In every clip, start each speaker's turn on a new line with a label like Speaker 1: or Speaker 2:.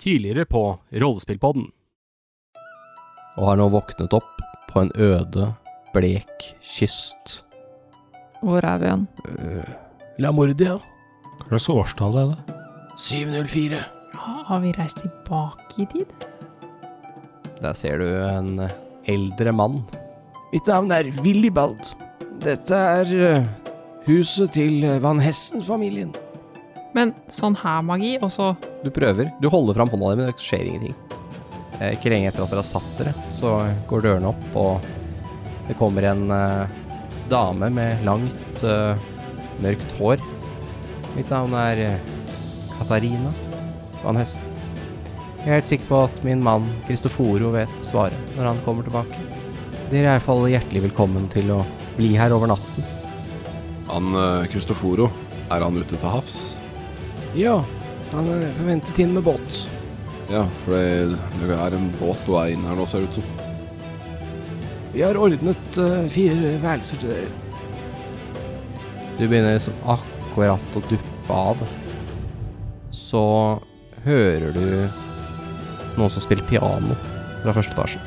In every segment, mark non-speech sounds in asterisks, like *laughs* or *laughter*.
Speaker 1: tidligere på Rollespillpodden.
Speaker 2: og har nå våknet opp på en øde, blek kyst.
Speaker 3: Hvor er vi igjen?
Speaker 2: Lamordia.
Speaker 4: Hva slags årstall er det?
Speaker 2: 704.
Speaker 3: Har vi reist tilbake i tid?
Speaker 2: Der ser du en eh, eldre mann.
Speaker 5: Mitt navn er Willibald. Dette er eh, huset til eh, Van Hessen-familien.
Speaker 3: Men sånn her magi, og så
Speaker 2: Du prøver. Du holder fram hånda di, men det skjer ingenting. Eh, Ikke lenge etter at dere har satt dere, så går dørene opp, og det kommer en eh, dame med langt, eh, mørkt hår. Mitt navn er eh, Katarina van Hesten. Jeg er helt sikker på at min mann Kristoforo vet svaret når han kommer tilbake. Dere er i hvert fall hjertelig velkommen til å bli her over natten.
Speaker 6: Han eh, Cristoforo, er han ute til havs?
Speaker 5: Ja, han er forventet inn med båt.
Speaker 6: Ja, for det, det er en båt på vei inn her nå, ser det ut som.
Speaker 5: Vi har ordnet eh, fire værelser til dere.
Speaker 2: Du begynner liksom akkurat å duppe av. Så hører du noen som spiller piano fra første etasje.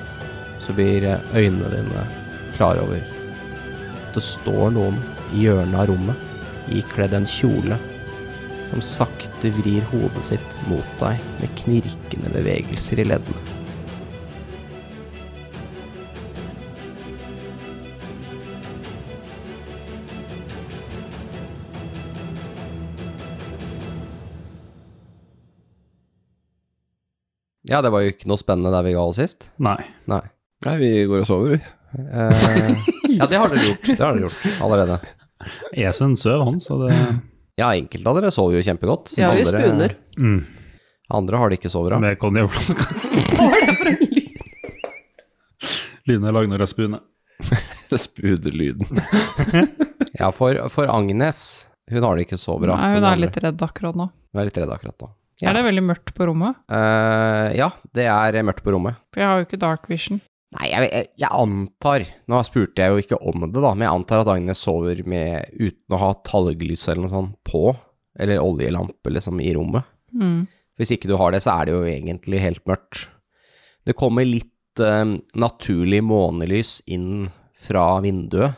Speaker 2: Så blir eh, øynene dine klar over at det står noen i hjørnet av rommet ikledd en kjole som sakte vrir hodet sitt mot deg med knirkende bevegelser i leddene. Ja, det var jo ikke noe spennende der vi ga oss sist.
Speaker 4: Nei.
Speaker 2: Nei.
Speaker 6: Nei, vi går og sover, vi.
Speaker 2: Eh, *laughs* ja, det har dere gjort. Det har dere gjort allerede.
Speaker 4: Esen søv, han, så det
Speaker 2: Ja, enkelte av dere sover jo kjempegodt.
Speaker 7: Ja, vi
Speaker 2: Andre-
Speaker 7: spuner.
Speaker 4: mm.
Speaker 2: Andre har det ikke så bra.
Speaker 4: Med *laughs* konjakkflaska. Line Lagner er spune.
Speaker 6: *laughs* Det spruder lyden.
Speaker 2: Ja, for, for Agnes, hun har det ikke så bra.
Speaker 3: Nei,
Speaker 2: som
Speaker 3: hun er
Speaker 2: andre.
Speaker 3: litt redd akkurat nå.
Speaker 2: Hun er litt redd akkurat nå. Ja.
Speaker 3: Er det veldig mørkt på rommet?
Speaker 2: Eh, ja, det er mørkt på rommet.
Speaker 3: For jeg har jo ikke dark vision.
Speaker 2: Nei, jeg, jeg, jeg antar Nå spurte jeg jo ikke om det, da, men jeg antar at Agnes sover med, uten å ha talglys eller noe sånt på, eller oljelampe, liksom, i rommet.
Speaker 3: Mm.
Speaker 2: Hvis ikke du har det, så er det jo egentlig helt mørkt. Det kommer litt eh, naturlig månelys inn fra vinduet,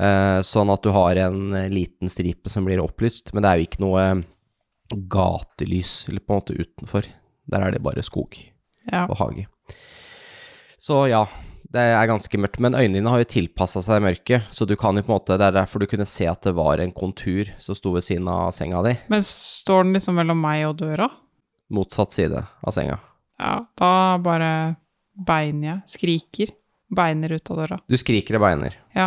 Speaker 2: eh, sånn at du har en eh, liten stripe som blir opplyst, men det er jo ikke noe eh, gatelys eller på en måte utenfor. Der er det bare skog
Speaker 3: Ja.
Speaker 2: og hage. Så ja, det er ganske mørkt, men øynene dine har jo tilpassa seg mørket, så du kan jo på en måte, det er derfor du kunne se at det var en kontur som sto ved siden av senga di,
Speaker 3: Men står den liksom mellom meg og døra?
Speaker 2: motsatt side av senga.
Speaker 3: Ja, da bare beiner jeg. Skriker. Beiner ut av døra.
Speaker 2: Du skriker og beiner.
Speaker 3: Ja.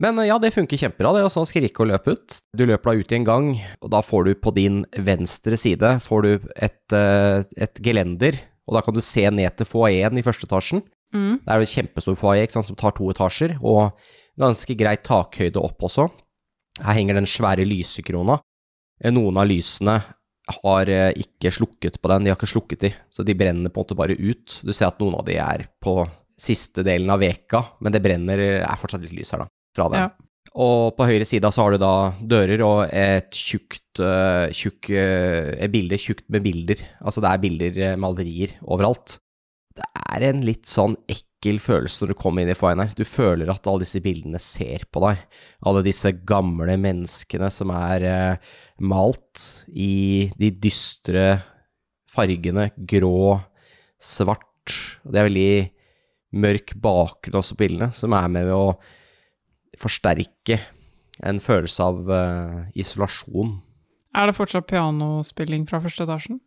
Speaker 2: Men eh, ja, det funker kjempebra, det å så skrike og løpe ut. Du løper da ut i en gang, og da får du på din venstre side får du et, eh, et gelender, og da kan du se ned til foajeen i første etasjen.
Speaker 3: Mm.
Speaker 2: Det er jo en kjempestor foajé ikke sant, som tar to etasjer, og ganske greit takhøyde opp også. Her henger den svære lysekrona. Eh, Noen av lysene har eh, ikke slukket på den, de har ikke slukket de, så de brenner på en måte bare ut. Du ser at noen av de er på siste delen av veka, men det brenner, eh, er fortsatt litt lys her da, fra det.
Speaker 3: Ja.
Speaker 2: Og på høyre sida så har du da dører og et tjukt, eh, tjukk, eh, et bilde tjukt med bilder. Altså det er bilder, eh, malerier overalt. Det er en litt sånn ekkel følelse når du kommer inn i foien her. Du føler at alle disse bildene ser på deg. Alle disse gamle menneskene som er eh, malt i de dystre fargene grå, svart. Og Det er veldig mørk bakgrunn også på bildene, som er med å forsterke en følelse av eh, isolasjon.
Speaker 3: Er det fortsatt pianospilling fra første etasjen?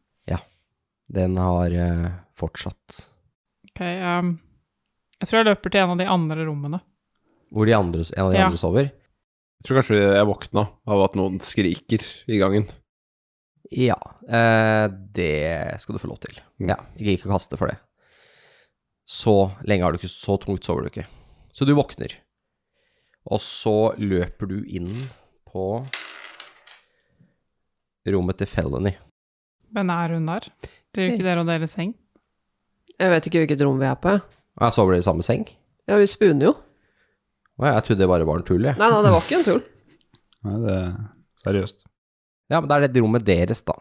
Speaker 2: Den har eh, fortsatt.
Speaker 3: Ok, ehm, jeg tror jeg løper til en av de andre rommene.
Speaker 2: Hvor de andre, en av de
Speaker 3: Ja.
Speaker 2: andre sover?
Speaker 6: Jeg tror kanskje jeg våkna av at noen skriker i gangen.
Speaker 2: Ja, eh, det skal du få lov til.
Speaker 6: Mm.
Speaker 2: Ja, jeg gidder ikke å kaste for det. Så lenge har du ikke, så tungt sover du ikke. Så du våkner, og så løper du inn på rommet til Felony.
Speaker 3: Men er hun der? Driver ikke dere og deler seng?
Speaker 7: Jeg vet ikke hvilket rom vi er på. jeg.
Speaker 2: Og jeg sover dere i samme seng?
Speaker 7: Ja, vi spuner jo.
Speaker 2: Å, jeg trodde det bare var en tull, jeg.
Speaker 7: Nei, nei, det var ikke en tull.
Speaker 4: Nei, det er seriøst.
Speaker 2: Ja, men det er det rommet deres, da.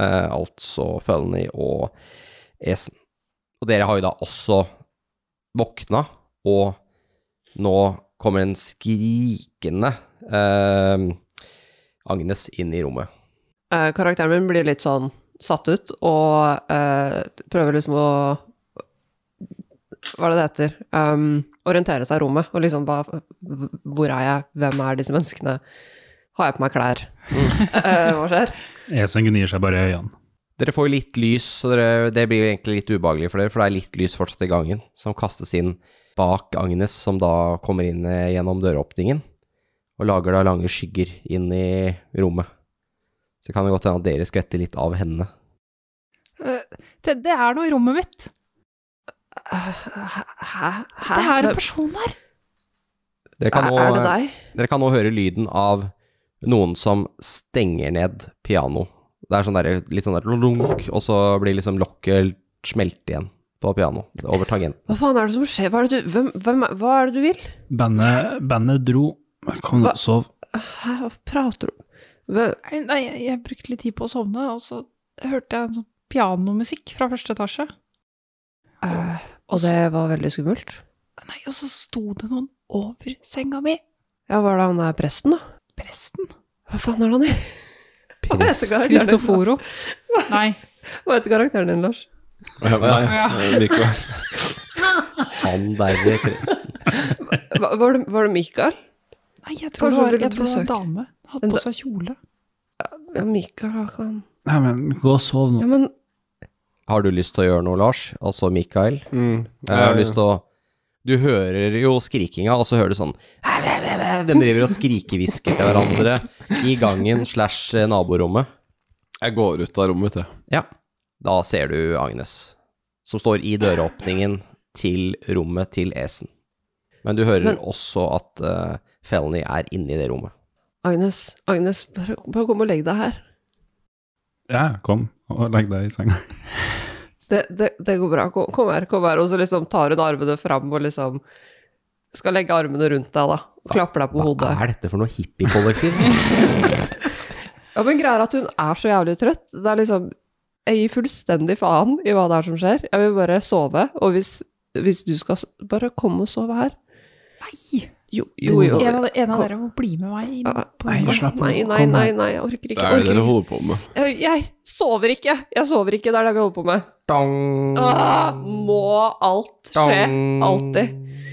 Speaker 2: eh, altså Følny og Esen. Og dere har jo da også våkna, og nå kommer en skrikende eh, Agnes inn i rommet.
Speaker 7: Eh, karakteren min blir litt sånn satt ut, og eh, prøver liksom å Hva er det det heter? Um, orientere seg i rommet, og liksom hva Hvor er jeg? Hvem er disse menneskene? Har jeg på meg klær? Eh, hva skjer?
Speaker 4: Esen gnir seg bare i øynene.
Speaker 2: Dere får jo litt lys, og dere, det blir jo egentlig litt ubehagelig for dere, for det er litt lys fortsatt i gangen, som kastes inn bak Agnes, som da kommer inn eh, gjennom døråpningen, og lager da lange skygger inn i rommet. Så kan det godt hende at dere skvetter litt av henne.
Speaker 3: Det, det er noe i rommet mitt.
Speaker 7: Eh, Hæ?
Speaker 3: Det er
Speaker 7: Hæ?
Speaker 3: en person der.
Speaker 2: Dere kan, nå, eh,
Speaker 7: Er det deg?
Speaker 2: dere kan nå høre lyden av noen som stenger ned piano. Det er sånn der, litt sånn der lunk, og så blir liksom lokket smelt igjen på piano, over tangenten.
Speaker 7: Hva faen er det som skjer? Hva er det du, hvem, hvem, er- hva er det du vil?
Speaker 4: Bandet, bandet dro. Kom,
Speaker 7: Hva?
Speaker 4: sov.
Speaker 7: Hæ, hva prater du Hva-
Speaker 3: Nei, nei, jeg, jeg brukte litt tid på å sovne, og så hørte jeg en sånn pianomusikk fra første etasje.
Speaker 7: Eh, Og det var veldig skummelt.
Speaker 3: Nei, og så sto det noen over senga mi.
Speaker 7: Ja, var det han der presten, da?
Speaker 3: *laughs* Presten.
Speaker 7: Hva faen er det han i? *laughs* Hva heter karakteren din?
Speaker 3: Kristoforo. Nei.
Speaker 7: Hva heter karakteren din, Lars?
Speaker 6: Nei,
Speaker 3: Ja.
Speaker 6: eh, likevel.
Speaker 2: Han derre presten.
Speaker 7: Hva, var, det, var det Mikael?
Speaker 3: Nei, jeg tror det
Speaker 7: Kanskje
Speaker 3: var,
Speaker 7: hun ville
Speaker 3: jeg tror det var en
Speaker 7: besøke.
Speaker 3: dame. Hadde
Speaker 7: En
Speaker 3: på
Speaker 7: da-
Speaker 3: seg kjole.
Speaker 7: Ja, Mikael han kan
Speaker 4: Nei, men gå og sov
Speaker 7: Ja,
Speaker 4: nå.
Speaker 7: men
Speaker 2: Har du lyst til å gjøre noe, Lars? Altså Mikael?
Speaker 6: Mm.
Speaker 2: Jeg har lyst til å Du hører jo skrikinga, og så hører du sånn De driver og skrikehvisker til hverandre i gangen slash eh, naborommet.
Speaker 6: Jeg går ut av rommet, vet du.
Speaker 2: Ja. Da ser du Agnes, som står i døråpningen til rommet til Esen. Men du hører
Speaker 7: Men-
Speaker 2: også at uh, Felny er inne i det rommet.
Speaker 7: Agnes, Agnes, bare, bare kom og legg deg her.
Speaker 4: Ja, kom og legg deg i senga.
Speaker 7: Det, det, det går bra. Kom, kom her, kom her. Og så liksom tar hun armene fram og liksom skal legge armene rundt deg, da. Og klapper deg på
Speaker 2: Hva
Speaker 7: hodet.
Speaker 2: er dette for noe hippiekollektiv?
Speaker 7: *laughs* Ja, men greia er at hun er så jævlig trøtt. Det er liksom Jeg gir fullstendig faen i hva det er som skjer. Jeg vil bare sove. Og hvis, hvis du skal s- Bare kom og sove her.
Speaker 3: Nei!
Speaker 7: Jo, jo, jo.
Speaker 3: En av, en av
Speaker 7: Kom.
Speaker 3: dere må bli med meg inn.
Speaker 7: Ah,
Speaker 3: på
Speaker 4: nei,
Speaker 3: rommet.
Speaker 4: slapp av.
Speaker 7: Nei, nei,
Speaker 4: Kom
Speaker 7: nei,
Speaker 4: her.
Speaker 7: nei, jeg orker ikke.
Speaker 6: Det er
Speaker 7: Jeg,
Speaker 6: det dere
Speaker 7: orker ikke.
Speaker 6: holder på med.
Speaker 7: Jeg, jeg sover ikke! Jeg sover ikke, det er det vi holder på med.
Speaker 2: Dong.
Speaker 7: Åh, Ah, må alt skje?
Speaker 2: Dong.
Speaker 7: Alltid.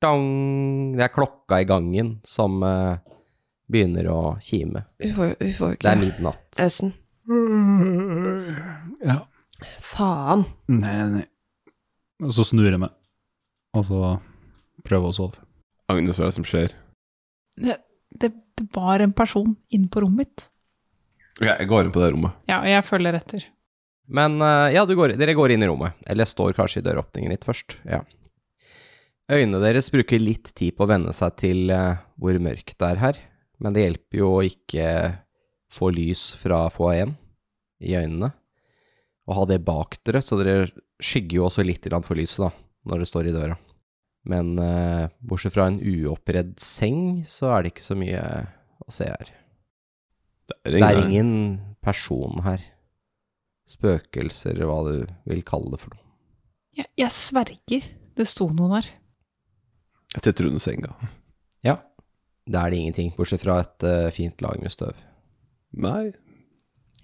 Speaker 2: Dong. Det er klokka i gangen som eh, begynner å kime.
Speaker 7: Vi får vi får jo
Speaker 2: Det
Speaker 7: ikke
Speaker 2: er midnatt.
Speaker 7: Esen.
Speaker 4: Ja.
Speaker 7: Faen.
Speaker 4: Nei, nei. Og så snur jeg meg, og så prøver jeg å sove.
Speaker 6: Agnes, hva er det som skjer?
Speaker 3: Det, det var en person inn på rommet mitt.
Speaker 6: Ok, Jeg går inn på det rommet.
Speaker 3: Ja, og jeg følger etter.
Speaker 2: Men eh, ja, du går, dere går inn i rommet. Eller står kanskje i døråpningen litt først. Ja. Øynene deres bruker litt tid på å venne seg til eh, hvor mørkt det er her. Men det hjelper jo å ikke få lys fra foajeen i øynene. Og ha det bak dere, så dere skygger jo også litt grann for lyset da, når dere står i døra. Men eh, bortsett fra en uoppredd seng, så er det ikke så mye eh, å se her.
Speaker 6: Det
Speaker 2: Det er ingen person her. Spøkelser, hva du vil kalle det for noe.
Speaker 3: Jeg, jeg sverger det sto noen her.
Speaker 6: Jeg titter under senga.
Speaker 2: Ja, da er det ingenting, bortsett fra et eh, fint lag med støv.
Speaker 6: Nei.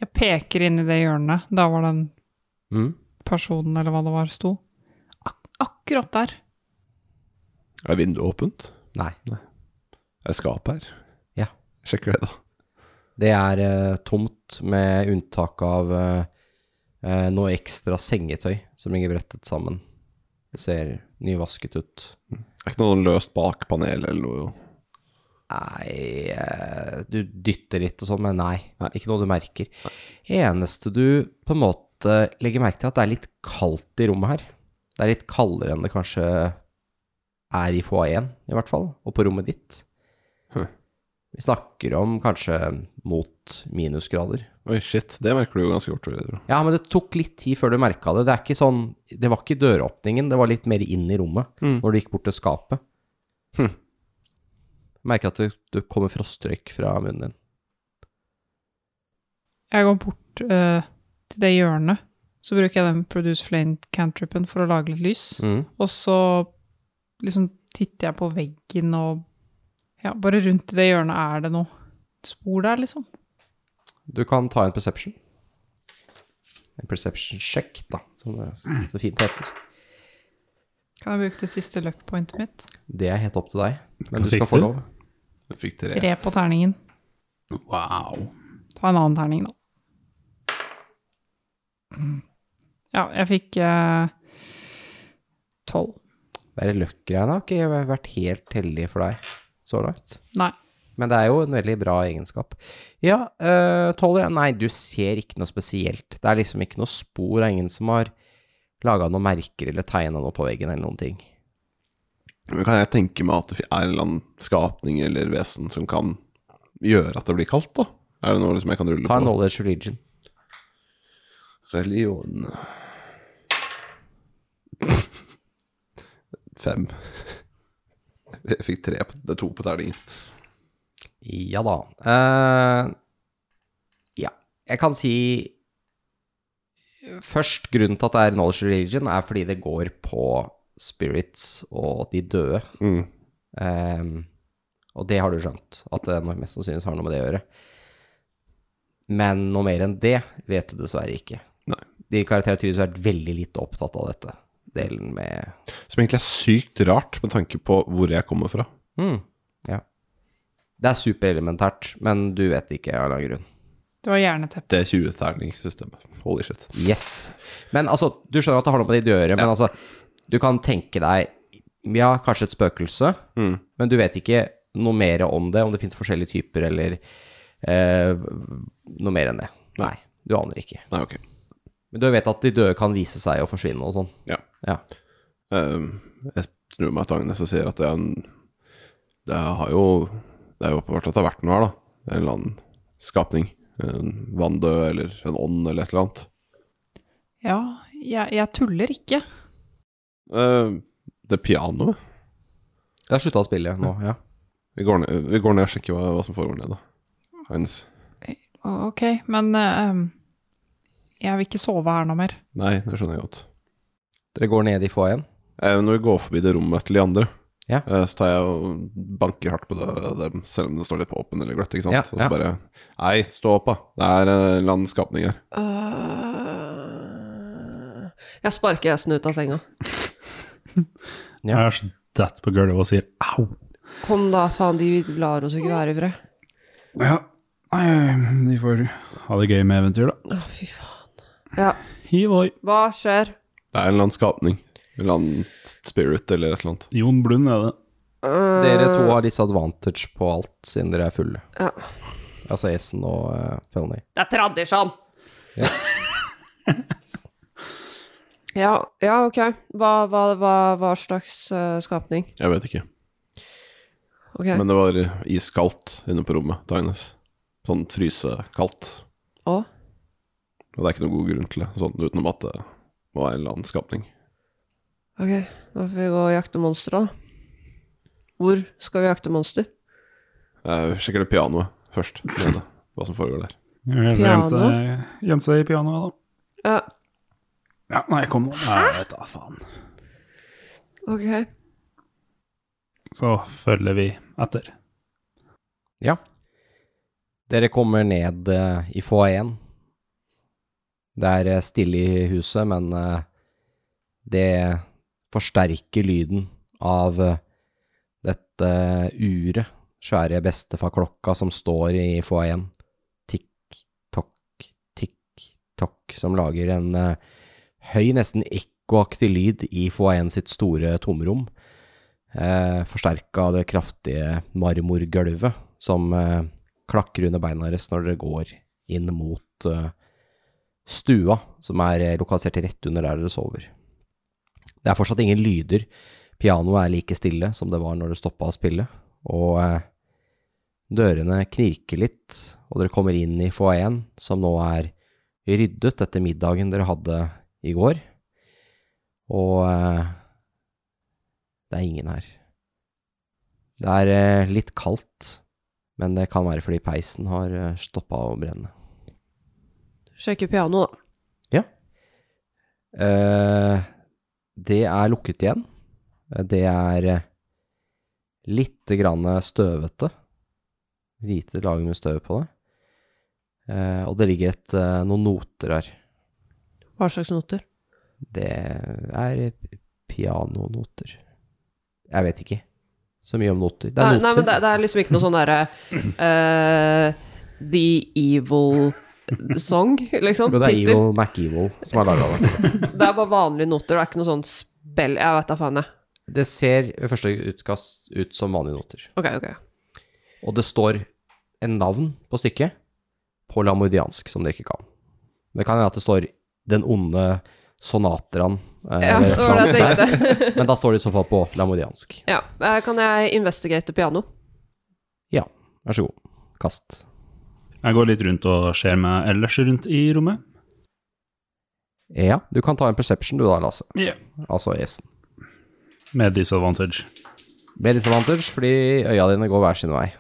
Speaker 3: Jeg peker inn i det hjørnet. Da var den
Speaker 2: Mm.
Speaker 3: personen, eller hva det var, sto. Ak akkurat der.
Speaker 6: Er vinduet åpent?
Speaker 2: Nei.
Speaker 6: Er det skap her?
Speaker 2: Ja.
Speaker 6: Jeg sjekker det, da.
Speaker 2: Det er eh, tomt, med unntak av eh, eh, noe ekstra sengetøy som ligger brettet sammen. Det ser nyvasket ut.
Speaker 6: Er ikke noe sånn løst bak panelet eller noe?
Speaker 2: Nei, eh, du dytter litt og sånn, men nei, ikke noe du merker. Eneste du på en måte legger merke til, er at det er litt kaldt i rommet her. Det er litt kaldere enn det kanskje er i foajeen, i hvert fall, og på rommet ditt.
Speaker 6: Hm.
Speaker 2: Vi snakker om kanskje mot minusgrader.
Speaker 6: Oi, shit. Det merker du jo ganske godt. vil jeg tro.
Speaker 2: Ja, men det tok litt tid før du merka det. Det, er ikke sånn, det var ikke døråpningen, det var litt mer inn i rommet
Speaker 6: Mm.
Speaker 2: når du gikk bort til skapet.
Speaker 6: Hm.
Speaker 2: Merker at det, det kommer frostrøyk fra munnen din.
Speaker 3: Jeg går bort eh, til det hjørnet, så bruker jeg den produce flame cantripen for å lage litt lys.
Speaker 2: Mm.
Speaker 3: Og så liksom titter jeg på veggen og Ja, bare rundt i det hjørnet er det noe spor der, liksom.
Speaker 2: Du kan ta en perception. En perception check, da, som det
Speaker 4: Mm.
Speaker 2: så fint heter.
Speaker 3: Kan jeg bruke det siste luck pointet mitt?
Speaker 2: Det er helt opp til deg,
Speaker 4: Hva
Speaker 2: men du skal
Speaker 4: fikk
Speaker 2: få
Speaker 4: du?
Speaker 2: lov.
Speaker 6: Jeg fikk tre.
Speaker 3: Tre på terningen.
Speaker 4: Wow.
Speaker 3: Ta en annen terning, da. Ja, jeg fikk eh, tolv.
Speaker 2: Det er løkk-greiene har ikke vært helt heldig for deg så langt.
Speaker 3: Nei.
Speaker 2: Men det er jo en veldig bra egenskap. Ja, uh, Tolly, nei, du ser ikke noe spesielt. Det er liksom ikke noe spor av ingen som har laga noen merker eller tegna noe på veggen eller noen ting.
Speaker 6: Men kan jeg tenke meg at det er en eller annen skapning eller vesen som kan gjøre at det blir kaldt, da? Er det noe liksom jeg kan rulle
Speaker 2: Ta en
Speaker 6: på?
Speaker 2: knowledge religion.
Speaker 6: Religion Fem. Jeg fikk tre på, det er to på terningen.
Speaker 2: Ja da. Eh, ja, jeg kan si Først, grunnen til at det er knowledge religion, er fordi det går på spirits og de døde.
Speaker 6: Mm.
Speaker 2: Ehm, og det har du skjønt, at det nok mest sannsynlig har noe med det å gjøre. Men noe mer enn det vet du dessverre ikke.
Speaker 6: Nei.
Speaker 2: Din karakter har tydeligvis vært veldig lite opptatt av dette. Delen med
Speaker 6: Som egentlig er sykt rart med tanke på hvor jeg kommer fra.
Speaker 2: mm, Ja. Det er superelementært, men du vet ikke av en eller annen grunn.
Speaker 3: Det var hjerneteppe.
Speaker 6: Det 20-terningssystemet. Holy shit.
Speaker 2: Yes. Men altså, du skjønner at det har noe med det å gjøre, men altså, du kan tenke deg Ja, kanskje et spøkelse,
Speaker 6: Mm.
Speaker 2: men du vet ikke noe mer om det, om det fins forskjellige typer eller eh, noe mer enn det. Nei, du aner ikke.
Speaker 6: Nei, ok.
Speaker 2: Men du vet at de døde kan vise seg og forsvinne og sånn.
Speaker 6: Ja.
Speaker 2: Ja.
Speaker 6: Ehm, jeg snur meg til Agnes og sier at det, er en, det har jo Det er jo åpenbart at det har vært noe her, da. En eller annen skapning. En vanndød eller en ånd eller et eller annet.
Speaker 3: Ja, jeg, jeg tuller ikke.
Speaker 6: Ehm, det pianoet
Speaker 2: Jeg har slutta å spille nå, ja.
Speaker 6: vi går, ned, vi går ned og sjekker hva, hva som foregår nede. Agnes.
Speaker 3: Å, Ok, men eh, em, jeg vil ikke sove her noe mer.
Speaker 6: Nei, det skjønner jeg godt.
Speaker 2: Dere går ned i få igjen.
Speaker 6: Eh, når vi går forbi det rommet til de andre,
Speaker 2: Ja.
Speaker 6: eh, så tar jeg og banker hardt på døra der, selv om det står litt på åpen eller gløtt. ikke sant?
Speaker 2: Ja,
Speaker 6: så
Speaker 2: ja.
Speaker 6: bare Nei, stå opp, da. Det er eh, en eller annen skapning her.
Speaker 7: Øh, Jeg sparker hesten ut av senga.
Speaker 2: Ja.
Speaker 4: Jeg er så dett på gulvet og sier au.
Speaker 7: Kom da, faen, de lar oss ikke være i fred.
Speaker 4: Ja, vi får ha det gøy med eventyr, da.
Speaker 7: Å, fy faen. Ja,
Speaker 4: Hivoi.
Speaker 7: hva skjer?
Speaker 6: Det er en eller annen skapning. En eller annen spirit eller et eller annet.
Speaker 4: Jon Blund er det.
Speaker 7: Øh,
Speaker 2: Dere to har disadvantage på alt, siden dere er fulle.
Speaker 7: Ja.
Speaker 2: Altså Essen og uh, Felny.
Speaker 7: Det er tradisjon!
Speaker 2: Ja.
Speaker 7: *laughs* ja, ja, ok. Hva, hva, hva, hva slags eh, skapning?
Speaker 6: Jeg vet ikke.
Speaker 7: Ok.
Speaker 6: Men det var iskaldt inne på rommet til Agnes. Sånn frysekaldt.
Speaker 7: Og?
Speaker 6: Og det er ikke noen god grunn til det, sånn utenom at det var en eller annen skapning.
Speaker 7: Ok, da får vi gå og jakte monstre, da. Hvor skal vi jakte monster?
Speaker 6: Jeg sjekker det pianoet først. Nede, hva som foregår der.
Speaker 4: Gjemt seg, gjemt seg i pianoet, da.
Speaker 7: Ja,
Speaker 4: Ja, nei, kom nå. Nei, vet da, faen.
Speaker 7: ok.
Speaker 4: Så følger vi etter.
Speaker 2: Ja. Dere kommer ned eh, i foajeen. Det er eh, stille i huset, men eh, det forsterker lyden av eh, dette eh, uret, svære bestefarklokka som står i foajeen. Tikk-tokk, tikk-tokk, som lager en eh, høy, nesten ekkoaktig lyd i foajeen sitt store tomrom. Eh, Forsterka av det kraftige marmorgulvet som eh, klakker under beina deres når dere går inn mot eh, stua, som er eh, lokalisert rett under der dere sover. Det er fortsatt ingen lyder. Pianoet er like stille som det var når det stoppa å spille, og eh, dørene knirker litt, og dere kommer inn i foajeen, som nå er ryddet etter middagen dere hadde i går, og eh, det er ingen her. Det er eh, litt kaldt, men det kan være fordi peisen har stoppa å eh, brenne.
Speaker 7: Sjekke pianoet, da.
Speaker 2: Eh, det er lukket igjen. Eh, Det er eh, litt grann støvete. Lite lag med støv på det. Eh, og det ligger et, eh, noen noter her.
Speaker 7: Hva slags noter?
Speaker 2: Det er pianonoter. Jeg vet ikke så mye om noter. Det
Speaker 7: Nei,
Speaker 2: er
Speaker 7: nei, men
Speaker 2: noter.
Speaker 7: det, det er liksom ikke noe sånn derre eh, The Evil Song, liksom.
Speaker 2: Jo, det er
Speaker 7: tittel.
Speaker 2: Evil McEvil som har laga det.
Speaker 7: Det er bare vanlige noter, det er ikke noe sånn spill Jeg vet da faen, jeg.
Speaker 2: Det ser ved første utkast ut som vanlige noter.
Speaker 7: Ok, ok.
Speaker 2: Og det står en navn på stykket på lamordiansk, som dere ikke kan. Det kan hende at det står 'Den onde sonatraen'. eh,
Speaker 7: Ja, det var det jeg tenkte.
Speaker 2: *laughs* Men da står det i så fall på lamordiansk.
Speaker 7: ja. eh, Kan jeg investigate piano?
Speaker 2: Vær så god, kast.
Speaker 8: Jeg går litt rundt og ser meg ellers rundt i rommet.
Speaker 2: Ja, du kan ta en perception du da, Lasse.
Speaker 8: Ja.
Speaker 2: Altså Esen.
Speaker 8: Med disadvantage.
Speaker 2: Med disadvantage, fordi øya dine går hver sin vei.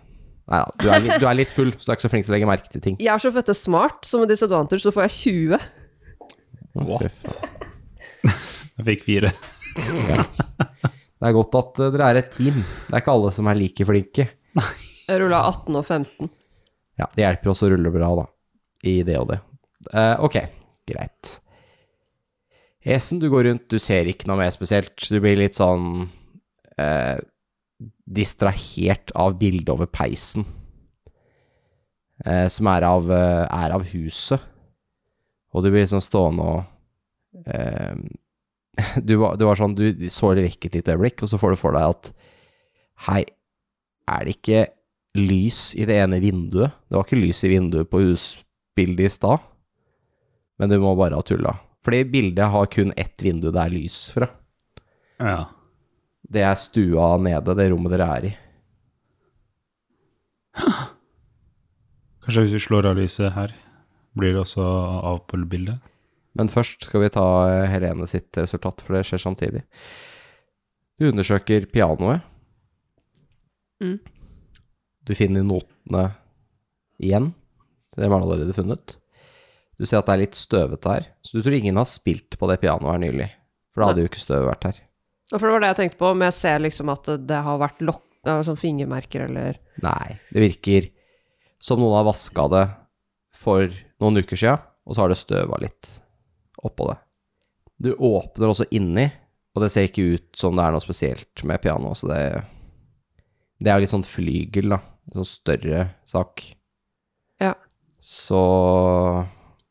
Speaker 2: Nei da, du, er litt- du er litt full, så du er ikke så flink til å legge merke til ting.
Speaker 7: Jeg er så fette smart, så med disadvantage så får jeg 20.
Speaker 2: What?
Speaker 8: Jeg fikk fire.
Speaker 2: Det er godt at eh, dere er et team. Det er ikke alle som er like flinke.
Speaker 7: Jeg rulla 18 og 15.
Speaker 2: Ja, det hjelper oss å rulle bra, da. I det og det. Eh, ok, greit. Esen, du går rundt, du ser ikke noe mer spesielt. Du blir litt sånn eh, distrahert av bildet over peisen, eh, som er av, eh, er av huset. Og du blir liksom stående og eh, *laughs* du, var, du var sånn, du så det vekk et lite øyeblikk, og så får du for deg at Hei, er det ikke lys i det ene vinduet. Det var ikke lys i vinduet på husbildet i stad, men du må bare ha tulla. Fordi bildet har kun ett vindu det er lys fra.
Speaker 8: Ja.
Speaker 2: Det er stua nede, det rommet dere er i.
Speaker 8: Kanskje hvis vi slår av lyset her, blir det også av på bildet?
Speaker 2: Men først skal vi ta eh, Helene sitt resultat, for det skjer samtidig. Du undersøker pianoet.
Speaker 7: Mm.
Speaker 2: Du finner notene igjen. Dem har du allerede funnet. Du ser at det er litt støvete her, så du tror ingen har spilt på det pianoet her nylig. For da hadde jo ikke støvet vært her.
Speaker 7: Og for det var det jeg tenkte på, men jeg ser liksom at det har vært lokk... eh, Sånn fingermerker eller
Speaker 2: Nei, det virker som noen har vaska det for noen uker sia, og så har det støva litt oppå det. Du åpner også inni, og det ser ikke ut som det er noe spesielt med piano, så det Det er jo litt sånn flygel, da. En sånn større sak.
Speaker 7: Ja.
Speaker 2: Så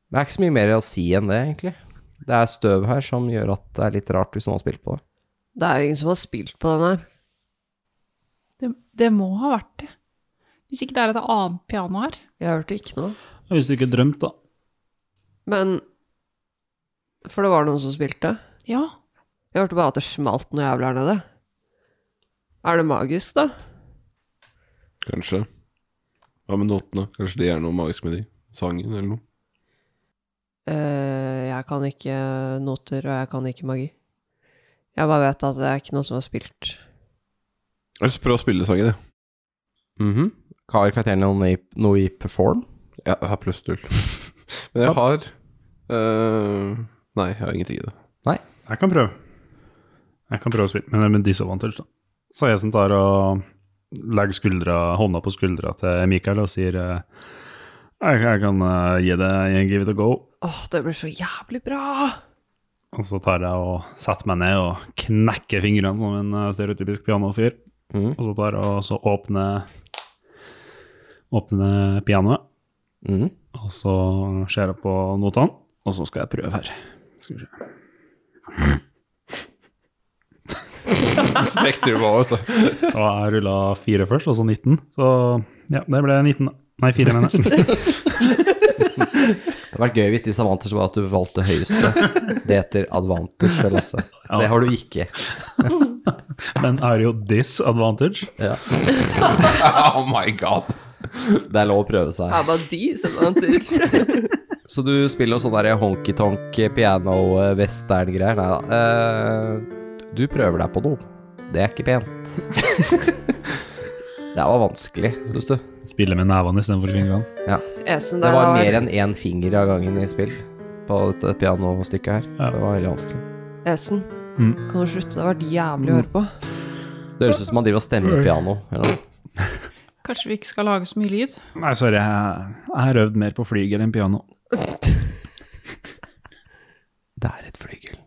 Speaker 2: Det er ikke så mye mer å si enn det, egentlig. Det er støv her som gjør at det er litt rart hvis noen har spilt på det.
Speaker 7: Det er jo ingen som har spilt på den her.
Speaker 3: Det, det må ha vært det. Hvis ikke det er et annet piano her.
Speaker 7: Jeg hørte ikke noe.
Speaker 8: Hvis du ikke drømte, da.
Speaker 7: Men For det var noen som spilte.
Speaker 3: Ja.
Speaker 7: Jeg hørte bare at det smalt noe jævlig her nede. Er det magisk, da?
Speaker 6: Kanskje. Hva med notene? Kanskje det er noe magisk med de? Sangen eller noe?
Speaker 7: Eh, jeg kan ikke noter, og jeg kan ikke magi. Jeg bare vet at det er ikke noe som er spilt.
Speaker 6: Eller så prøv å spille sangen, jeg.
Speaker 2: Mhm. Har karakteren noe i, noe i perform?
Speaker 6: Ja, jeg har pluss null. *laughs* Men jeg har eh, Nei, jeg har ingenting i det. *laughs*
Speaker 8: Jeg kan prøve. Jeg kan prøve å spille, men det er med disadvantage, da. Så Esen tar og legger skuldra, hånda på skuldra til Mikael og sier eh, jeg, jeg kan eh, gi det jeg give it a go.
Speaker 7: Åh, det blir så jævlig bra!
Speaker 8: Og så tar jeg og setter meg ned og knekker fingrene som en eh, stereotypisk pianofyr.
Speaker 2: Mhm.
Speaker 8: Og så tar jeg og så åpner, åpner pianoet,
Speaker 2: Mhm.
Speaker 8: og så ser jeg på notene, og så skal jeg prøve her. Skal vi se.
Speaker 6: Spektrum var ute. *laughs*
Speaker 8: Og jeg rulla fire først,
Speaker 4: altså
Speaker 8: og så 19. Så ja, det ble 19, da. Nei, fire, mener
Speaker 2: *laughs*
Speaker 8: jeg.
Speaker 2: Det hadde vært gøy hvis disadvantage var at du valgte høyeste. Det heter advantage, Lasse.
Speaker 8: Ja.
Speaker 2: Det har du ikke.
Speaker 8: Men er det jo disadvantage?
Speaker 6: Oh my god.
Speaker 2: Det er lov å prøve seg.
Speaker 7: Det er bare de som venter.
Speaker 2: Så du spiller noe sånn der honky-tonk, piano, eh, western-greier? Nei da. Eh, Du prøver deg på noe. Det er ikke pent. Det var vanskelig, syns du.
Speaker 4: Spille med nevene istedenfor fingrene.
Speaker 7: *laughs* Esen
Speaker 2: Det
Speaker 7: der
Speaker 2: var
Speaker 7: har-
Speaker 2: mer enn én finger av gangen i spill på dette pianostykket her. Så det var veldig vanskelig.
Speaker 7: Esen,
Speaker 4: Mm.
Speaker 7: kan du slutte? Det har vært jævlig å høre på.
Speaker 2: Det høres ut som man driver og stemmer piano. Eller noe.
Speaker 3: Kanskje vi ikke skal lage så mye lyd?
Speaker 4: Nei, sorry, jeg, jeg har øvd mer på flygel enn piano.
Speaker 2: *laughs* Det er et flygel.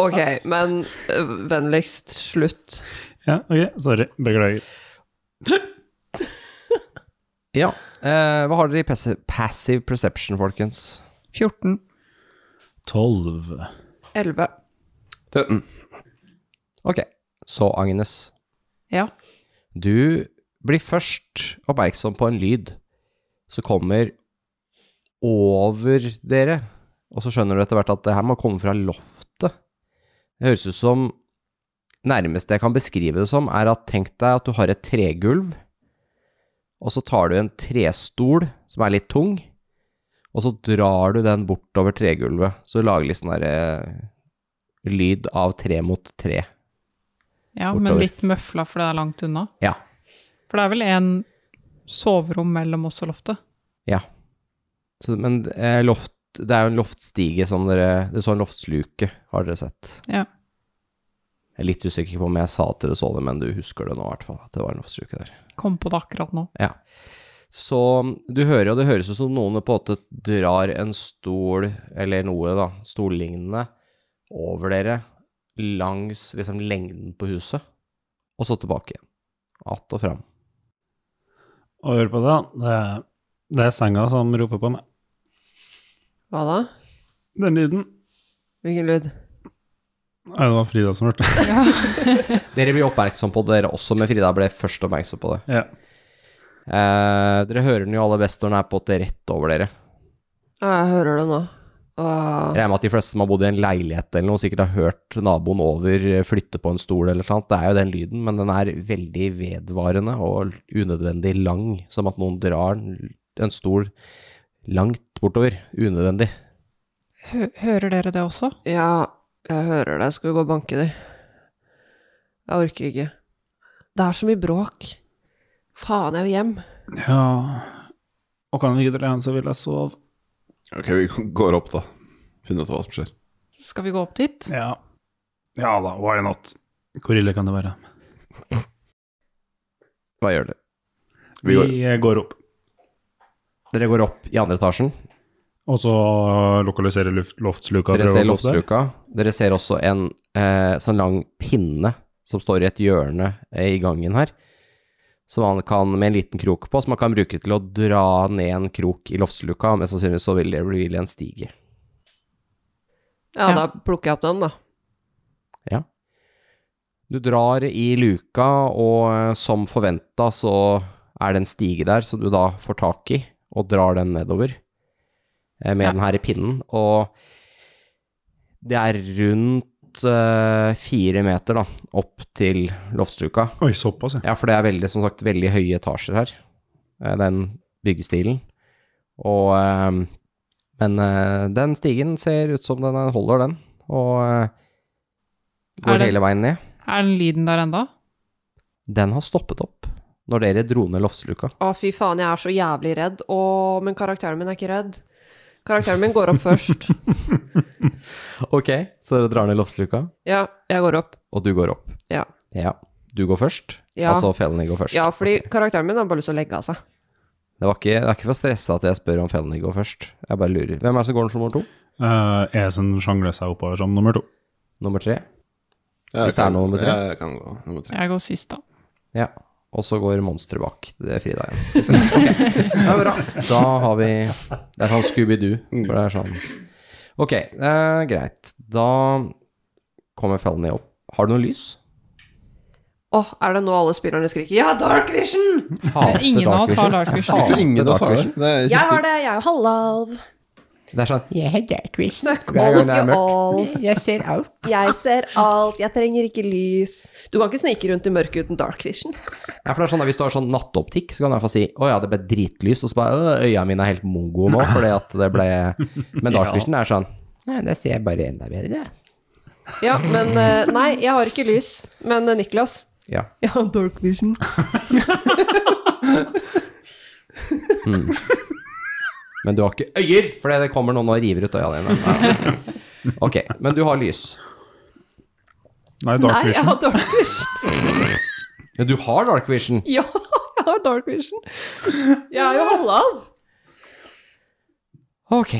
Speaker 7: Ok, men øh, vennligst slutt.
Speaker 4: Ja, ok, sorry. Beklager.
Speaker 2: Ja. Eh, hva har dere i passive, passive perception, folkens?
Speaker 3: 14.
Speaker 4: Tolv.
Speaker 7: 11.
Speaker 6: 13.
Speaker 2: Ok, så Agnes.
Speaker 3: Ja.
Speaker 2: Du blir først oppmerksom på en lyd som kommer over dere, og så skjønner du etter hvert at det her må komme fra loftet. Det høres ut som Nærmest jeg kan beskrive det som, er at tenk deg at du har et tregulv, og så tar du en trestol som er litt tung, og så drar du den bortover tregulvet, så du lager litt sånn derre lyd av tre mot tre.
Speaker 3: Ja, men
Speaker 2: Bortover.
Speaker 3: litt møfla, for det er langt unna.
Speaker 2: Ja.
Speaker 3: For det er vel en soverom mellom oss og loftet?
Speaker 2: Så, men eh, loft, det er jo en loftstige som dere Det står en loftsluke, har dere sett.
Speaker 3: Ja.
Speaker 2: Jeg er litt usikker på om jeg sa at dere så det, men du husker det nå i hvert fall. At det var en loftsluke der.
Speaker 3: Kom på det akkurat nå.
Speaker 2: Ja. Så mm, du hører, og det høres ut som noen på en måte drar en stol, eller noe, da, stollignende, over dere langs liksom lengden på huset, og så tilbake igjen. Att og fram.
Speaker 4: Og hør på det, da. Det er, det er senga som roper på meg.
Speaker 7: Hva da?
Speaker 4: Den lyden.
Speaker 7: Hvilken lyd?
Speaker 4: Nei, det var Frida som hørte.
Speaker 2: Dere blir oppmerksom på det, dere også, men Frida ble først oppmerksom på det.
Speaker 4: ja.
Speaker 2: Eh, dere hører den jo aller best når den er på åtte rett over dere.
Speaker 7: Ja, jeg hører det nå. Åh,
Speaker 2: Jeg regner med at de fleste som har bodd i en leilighet eller noe, sikkert har hørt naboen over eh, flytte på en stol eller noe sånt. Det er jo den lyden, men den er veldig vedvarende og unødvendig lang. Som at noen drar en- en stol langt bortover. Unødvendig.
Speaker 3: Hø hører dere det også?
Speaker 7: ja, jeg hører det. Skal vi gå og banke de? Jeg orker ikke. Det er så mye bråk. Faen, jeg vil hjem.
Speaker 4: ja. Og kan vi ikke dra hjem, så vil jeg sove.
Speaker 6: Ok, vi *laughs* går opp, da. Finner ut hva som skjer.
Speaker 3: Skal vi gå opp dit?
Speaker 4: Ja. Ja da, why not? Hvor ille kan det være?
Speaker 2: Hva gjør dere?
Speaker 6: Vi
Speaker 4: Vi
Speaker 6: går-
Speaker 4: eh, går opp.
Speaker 2: Dere går opp i andre etasjen.
Speaker 4: Og så lokaliserer luft, loftsluka.
Speaker 2: Dere
Speaker 4: prøver
Speaker 2: ser
Speaker 4: å gå opp der.
Speaker 2: loftsluka. Dere ser også en eh, sånn lang pinne som står i et hjørne eh, i gangen her, som man kan, med en liten krok på, som man kan bruke til å dra ned en krok i loftsluka. Men sannsynligvis så vil det bli vil en stige.
Speaker 7: Ja,
Speaker 3: Ja.
Speaker 7: da plukker jeg opp den, da.
Speaker 2: Du drar i luka, og eh, som forventa så er det en stige der som du da får tak i, og drar den nedover eh, med
Speaker 3: Ja.
Speaker 2: den her i pinnen. Og det er rundt eh, fire meter da, opp til loftstuka.
Speaker 4: Oi, såpass, ja.
Speaker 2: Ja, for det er veldig, som sagt, veldig høye etasjer her, eh, den byggestilen. Og, eh, men eh, den stigen ser ut som den er- holder den, og eh,
Speaker 3: Er
Speaker 2: går
Speaker 3: det-
Speaker 2: hele veien ned.
Speaker 3: Er den lyden der enda?
Speaker 2: Den har stoppet opp når dere dro ned loftsluka.
Speaker 7: Å, fy faen, jeg er så jævlig redd. Å, men karakteren min er ikke redd. Karakteren min går opp *laughs* først.
Speaker 2: Ok, så dere drar ned loftsluka,
Speaker 7: Ja, jeg går opp.
Speaker 2: og du går opp.
Speaker 7: Ja.
Speaker 2: Ja, du går først,
Speaker 7: Ja.
Speaker 2: altså Felny går først.
Speaker 7: Ja, fordi
Speaker 2: Ok.
Speaker 7: karakteren min har bare lyst til å legge av seg.
Speaker 2: Det, var ikke, det er ikke for stressa at jeg spør om Felny går først. Jeg bare lurer. Hvem er det som går nummer to?
Speaker 4: Uh, Esen sjangler seg oppover som nummer to.
Speaker 2: Nummer tre?
Speaker 6: Jeg
Speaker 2: Hvis det er
Speaker 6: kan-
Speaker 2: noe med tre.
Speaker 6: Jeg kan gå nummer tre.
Speaker 3: Jeg går sist, da.
Speaker 2: Ja. Og så går monsteret bak. Det er Frida igjen. Skal vi se. *laughs* Ok, det er bra. Da har vi Det er sånn Scooby-Doo. For det er sånn Ok, eh, greit. Da kommer Felny opp. Har du noe lys?
Speaker 7: Å, er det nå alle spillerne skriker 'ja, dark vision'?
Speaker 2: Hater
Speaker 3: Ingen av oss har
Speaker 2: Dark
Speaker 3: dark vision.
Speaker 2: Hater Dark Vision.
Speaker 6: Det
Speaker 7: Jeg har det, jeg er jo halvalv.
Speaker 2: Det er sånn
Speaker 8: Jeg har dark vision.
Speaker 7: Fuck all of you all.
Speaker 8: Jeg ser alt.
Speaker 7: Jeg ser alt, jeg trenger ikke lys. Du kan ikke snike rundt i mørket uten dark vision.
Speaker 2: Ja, for det er sånn at Hvis du har sånn nattoptikk, så kan du iallfall si 'Å ja, det ble dritlys', og så bare «Øh, 'Øya mine er helt mongo nå', fordi at det ble
Speaker 3: *laughs*
Speaker 2: Men dark
Speaker 4: Ja.
Speaker 2: vision er sånn
Speaker 8: Nei, da ser jeg bare enda bedre.
Speaker 7: Ja, men eh, nei, jeg har ikke lys. Men eh, Niklas,
Speaker 2: Ja.
Speaker 7: Jeg har dark vision.
Speaker 2: Men du har ikke øyer, for det kommer noen og river ut øya dine. Ja. Ok, men du har lys.
Speaker 4: Nei, dark
Speaker 7: Nei, jeg
Speaker 4: vision.
Speaker 7: har dark vision. *laughs*
Speaker 2: Men du har dark vision.
Speaker 7: Ja, jeg har dark vision. Jeg er jo halvhalv.
Speaker 2: Ok.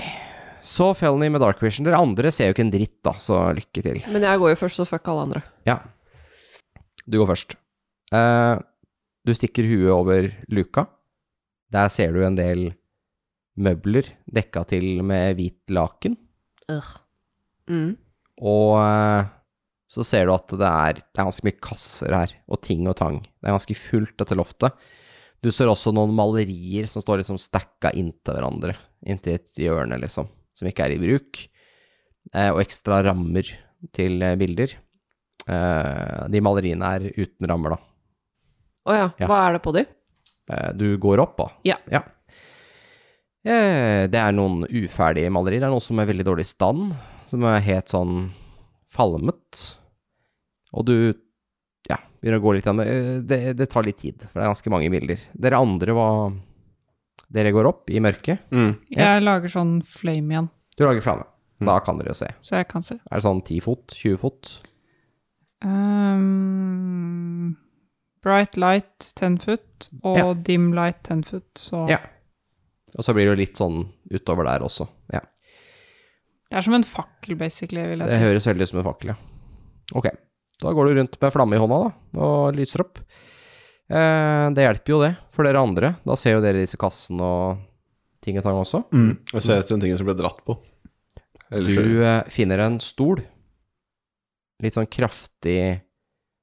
Speaker 2: Så Felny med dark vision. Dere andre ser jo ikke en dritt, da, så lykke til.
Speaker 7: Men jeg går jo først, så fuck alle andre.
Speaker 2: Ja. Du går først. Eh, du stikker huet over luka. Der ser du en del møbler dekka til med hvit laken.
Speaker 7: Mm.
Speaker 2: Og eh, så ser du at det er, det er ganske mye kasser her, og ting og tang. Det er ganske fullt, dette loftet. Du ser også noen malerier som står liksom stacka inntil hverandre, inntil et hjørne, liksom, som ikke er i bruk. Eh, og ekstra rammer til eh, bilder. Eh, de maleriene er uten rammer, da.
Speaker 7: Å ja.
Speaker 2: Ja.
Speaker 7: hva er det på de?
Speaker 2: Eh, Du går opp, da?
Speaker 7: Ja.
Speaker 2: Eh, Det er noen uferdige malerier. Det er noen som er veldig dårlig i stand, som er helt sånn falmet. Og du ja, begynner å gå litt grann. Eh, Det, det tar litt tid, for det er ganske mange bilder. Dere andre, hva Dere går opp i mørket.
Speaker 6: Mm.
Speaker 2: Ja.
Speaker 3: Jeg lager sånn flame igjen,
Speaker 2: Du lager flamme. Da kan dere jo se.
Speaker 3: så jeg kan se.
Speaker 2: Er det sånn 10 fot? 20 fot?
Speaker 3: Ehm, bright light 10 foot og
Speaker 2: Ja.
Speaker 3: dim light 10 foot, så
Speaker 2: Ja. Og så blir det jo litt sånn utover der også. Ja.
Speaker 3: Det er som en fakkel, basically, vil jeg
Speaker 2: Det
Speaker 3: si.
Speaker 2: høres veldig ut som en fakkel, ja. Ok, da går du rundt med flamme i hånda da, og lyser opp. Eh, det hjelper jo det for dere andre. Da ser jo dere disse kassene og ting og tang også.
Speaker 4: Mm.
Speaker 6: Jeg ser etter den tingen som ble dratt på. Eller
Speaker 2: Du eh, finner en stol. Litt sånn kraftig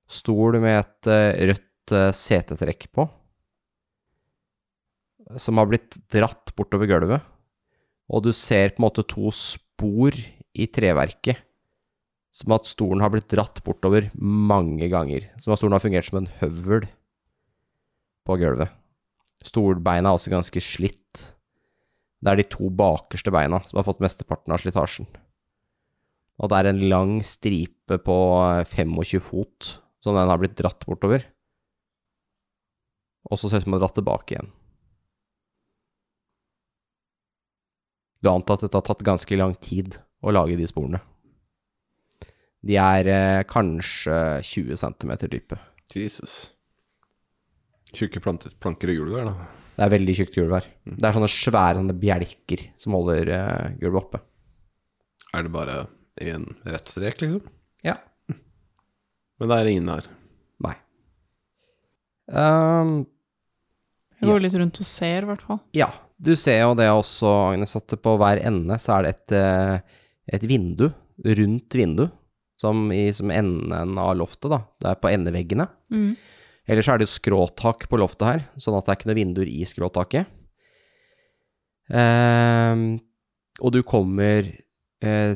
Speaker 2: stol med et eh, rødt eh, setetrekk på. Som har blitt dratt bortover gulvet. Og du ser på en måte to spor i treverket. Som at stolen har blitt dratt bortover mange ganger. Som at stolen har fungert som en høvel på gulvet. Stolbeina er også ganske slitt. Det er de to bakerste beina som har fått mesteparten av slitasjen. Og det er en lang stripe på eh, 25 fot som den har blitt dratt bortover. Og så ser det ut som den har dratt tilbake igjen. Du antar at dette har tatt ganske lang tid å lage de sporene. De er eh, kanskje 20 cm dype.
Speaker 6: Jesus. Tjukke planter- planker i gulvet der, da.
Speaker 2: Det er veldig tjukt gulv her. Det er sånne svære sånne bjelker som holder eh, gulvet oppe.
Speaker 6: Er det bare én rett strek, liksom?
Speaker 2: Ja.
Speaker 6: Men det er ingen her.
Speaker 2: Nei. Ehm,
Speaker 3: Jeg går litt rundt og ser, i hvert fall.
Speaker 2: ja, du ser jo det også, Agnes, at på hver ende så er det et, eh, et vindu, rundt vindu, som i som enden av loftet, da. Det er på endeveggene. Ellers er det jo skråtak på loftet her, sånn at det er ikke noen vinduer i skråtaket. Ehm, og du kommer eh,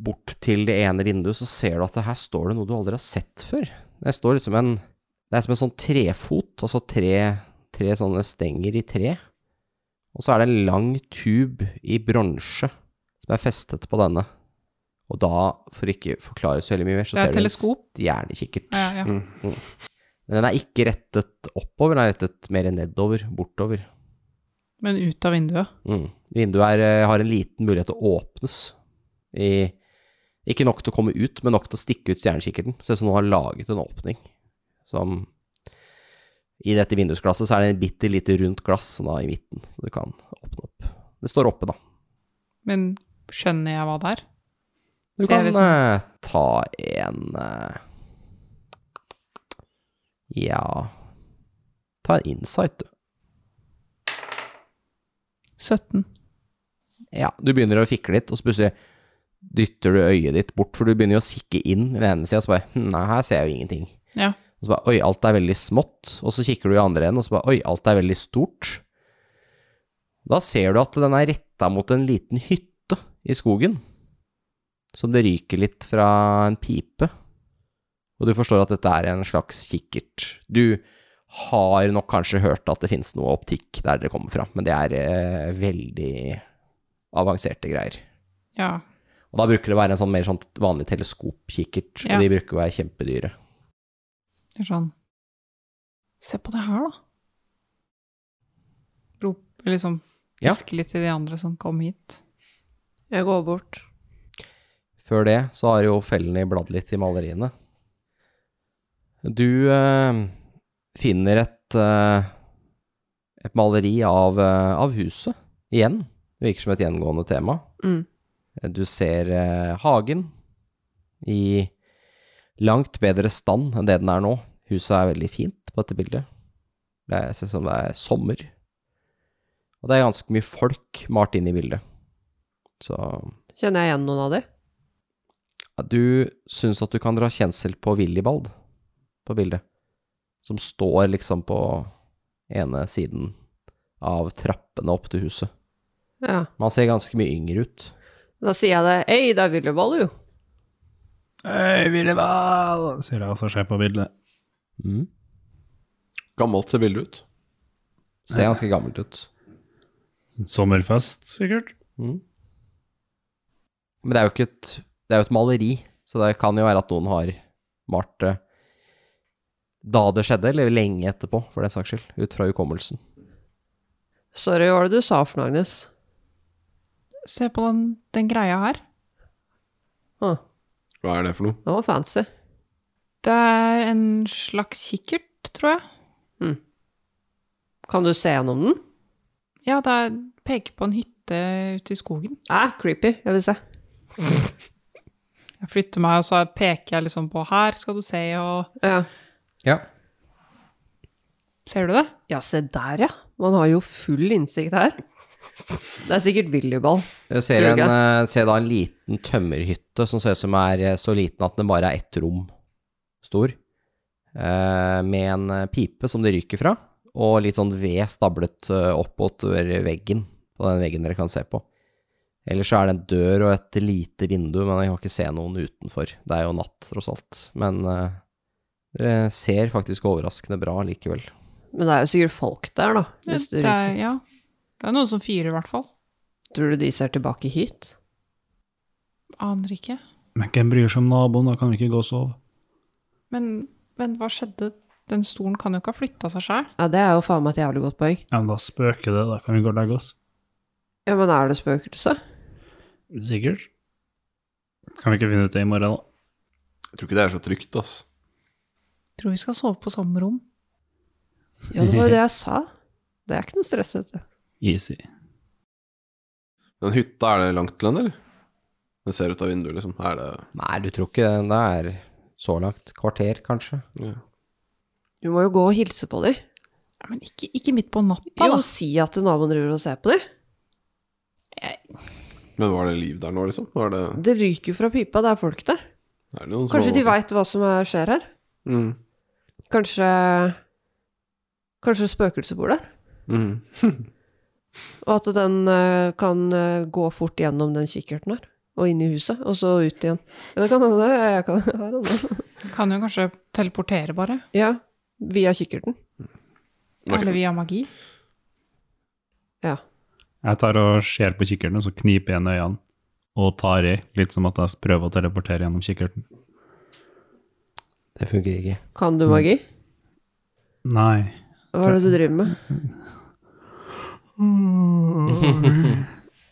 Speaker 2: bort til det ene vinduet, så ser du at det her står det noe du aldri har sett før. Det står liksom en Det er som en sånn trefot, altså tre, tre sånne stenger i tre. Og så er det en lang tube i bronse som er festet på denne. Og da, for ikke forklare så veldig mye mer, så
Speaker 3: Det er
Speaker 2: ser du en
Speaker 3: teleskop.
Speaker 2: stjernekikkert.
Speaker 3: Ja, ja.
Speaker 2: Men den er ikke rettet oppover, den er rettet mer nedover, bortover.
Speaker 3: Men ut av vinduet.
Speaker 2: Mm. Vinduet er, eh, har en liten mulighet til å åpnes. I, ikke nok til å komme ut, men nok til å stikke ut stjernekikkerten. Ser ut som noen har laget en åpning. Som I dette vindusglasset så er det en bitte lite rundt glass sånn da, i midten, så du kan åpne opp. Det står oppe, da.
Speaker 3: Men skjønner jeg hva det er?
Speaker 2: Du
Speaker 3: Ser
Speaker 2: kan
Speaker 3: liksom-
Speaker 2: eh, ta en eh, Ja Ta en insight, du.
Speaker 3: 17.
Speaker 2: Ja, du begynner å fikle litt, og så plutselig dytter du øyet ditt bort, for du begynner jo å kikke inn i den ene sida, og så bare hm, Nei, her ser jeg jo ingenting.
Speaker 3: Ja.
Speaker 2: Og så bare Oi, alt er veldig smått. Og så kikker du i andre enden, og så bare Oi, alt er veldig stort. Da ser du at den er retta mot en liten hytte i skogen, som det ryker litt fra en pipe. Og du forstår at dette er en slags kikkert. Du har nok kanskje hørt at det finnes noe optikk der dere kommer fra, men det er eh, veldig avanserte greier.
Speaker 3: Ja.
Speaker 2: Og da bruker det å være en sånn mer sånn vanlig teleskopkikkert,
Speaker 3: Ja.
Speaker 2: og de bruker å være kjempedyre.
Speaker 3: Det er sånn Se på det her, da. Rop eller liksom
Speaker 2: Ja.
Speaker 3: hviske litt til de andre sånn Kom hit.
Speaker 7: Jeg går bort.
Speaker 2: Før det så har jo fellene bladd litt i maleriene. Du eh, finner et, eh, et maleri av, eh, av huset igjen. Det virker som et gjengående tema.
Speaker 7: Mm.
Speaker 2: Du ser eh, hagen i langt bedre stand enn det den er nå. Huset er veldig fint på dette bildet. Det ser ut som det er sommer. Og det er ganske mye folk malt inn i bildet. Så
Speaker 7: Kjenner jeg igjen noen av de?
Speaker 2: ja, Du syns at du kan dra kjensel på Willibald på bildet, som står liksom på ene siden av trappene opp til huset.
Speaker 7: Ja.
Speaker 2: Man ser ganske mye yngre ut.
Speaker 7: Da sier jeg det. Hei, det er Willeball, jo.
Speaker 4: Hei, Willibald! Sier jeg og så ser jeg på bildet.
Speaker 2: Mm.
Speaker 6: Gammelt ser bildet ut.
Speaker 2: Ser ganske gammelt ut.
Speaker 4: Sommerfest, sikkert.
Speaker 2: Men det er jo ikke et, det er jo et maleri, så det kan jo være at noen har malt det da det skjedde, eller lenge etterpå, for den saks skyld, ut fra hukommelsen.
Speaker 7: Sorry, hva var det du sa for noe, Agnes?
Speaker 3: Se på den, den greia her.
Speaker 7: Å,
Speaker 6: Hva er det for noe?
Speaker 7: det var fancy.
Speaker 3: Det er en slags kikkert, tror jeg.
Speaker 7: Kan du se gjennom den?
Speaker 3: Ja, det er, peker på en hytte ute i skogen.
Speaker 7: Æ, Ah, creepy. Jeg vil se.
Speaker 3: Jeg flytter meg, og så peker jeg liksom på her skal du se, og
Speaker 7: Ja.
Speaker 2: Ja.
Speaker 3: Ser du det?
Speaker 7: ja, se der, ja. Man har jo full innsikt her. Det er sikkert Willeball.
Speaker 2: Jeg ser,
Speaker 7: Tror du
Speaker 2: en,
Speaker 7: ikke?
Speaker 2: eh, ser da en liten tømmerhytte som ser ut som er eh, så liten at den bare er ett rom stor, eh, med en eh, pipe som det ryker fra, og litt sånn ved stablet eh, oppåt over veggen, på den veggen dere kan se på. Ellers så er det en dør og et lite vindu, men jeg kan ikke se noen utenfor. Det er jo natt, tross alt. Men eh, dere ser faktisk overraskende bra likevel.
Speaker 7: Men det er jo sikkert folk der, da. Hvis du
Speaker 3: Det er, ja. det er noen som fyrer, i hvert fall.
Speaker 7: Tror du de ser tilbake hit?
Speaker 3: Aner ikke.
Speaker 4: Men hvem bryr seg om naboen? Da kan vi ikke gå og sove.
Speaker 3: Men, men hva skjedde? Den stolen kan jo ikke ha flytta seg sjøl.
Speaker 7: Ja, det er jo faen meg et jævlig godt poeng.
Speaker 4: Ja, men da spøker det. Da kan vi gå og legge oss.
Speaker 7: Ja, men er det spøkelse?
Speaker 4: Sikkert. Kan vi ikke finne ut det i morgen, da?
Speaker 6: Jeg tror ikke det er så trygt, ass.
Speaker 3: Tror vi skal sove på samme rom.
Speaker 7: Ja, det var jo det jeg sa. Det er ikke noe stress, vet du.
Speaker 4: Easy.
Speaker 6: Den hytta, er det langt til den, eller? Den ser ut av vinduet, liksom. Er det
Speaker 2: Nei, du tror ikke det er så langt. Kvarter, kanskje?
Speaker 6: ja.
Speaker 7: Du må jo gå og hilse på dem.
Speaker 3: Ja, men ikke, ikke midt på natta, da.
Speaker 7: Jo, si at naboen driver og ser på dem.
Speaker 6: Men var det liv der nå, liksom? Var det,
Speaker 7: Det ryker jo fra pipa, det er folk der.
Speaker 6: er det noen som
Speaker 7: Kanskje de
Speaker 6: overvåker?
Speaker 7: veit hva som er- skjer her?
Speaker 6: Mm.
Speaker 7: Kanskje Kanskje spøkelset bor der?
Speaker 6: Mm.
Speaker 7: Og at den eh, kan eh, gå fort gjennom den kikkerten her, og inn i huset, og så ut igjen. Ja, det kan hende. Jeg kan *laughs* I don't know.
Speaker 3: Kan jo kanskje teleportere, bare.
Speaker 7: Ja. Via kikkerten.
Speaker 6: Ok.
Speaker 3: Eller via magi.
Speaker 4: Jeg tar og ser på kikkerten, og så kniper jeg igjen øynene og tar i, litt som at jeg prøver å teleportere gjennom kikkerten.
Speaker 2: Det funker ikke.
Speaker 7: Kan
Speaker 4: Mm.
Speaker 7: du magi?
Speaker 4: Nei.
Speaker 7: Hva er det du driver med?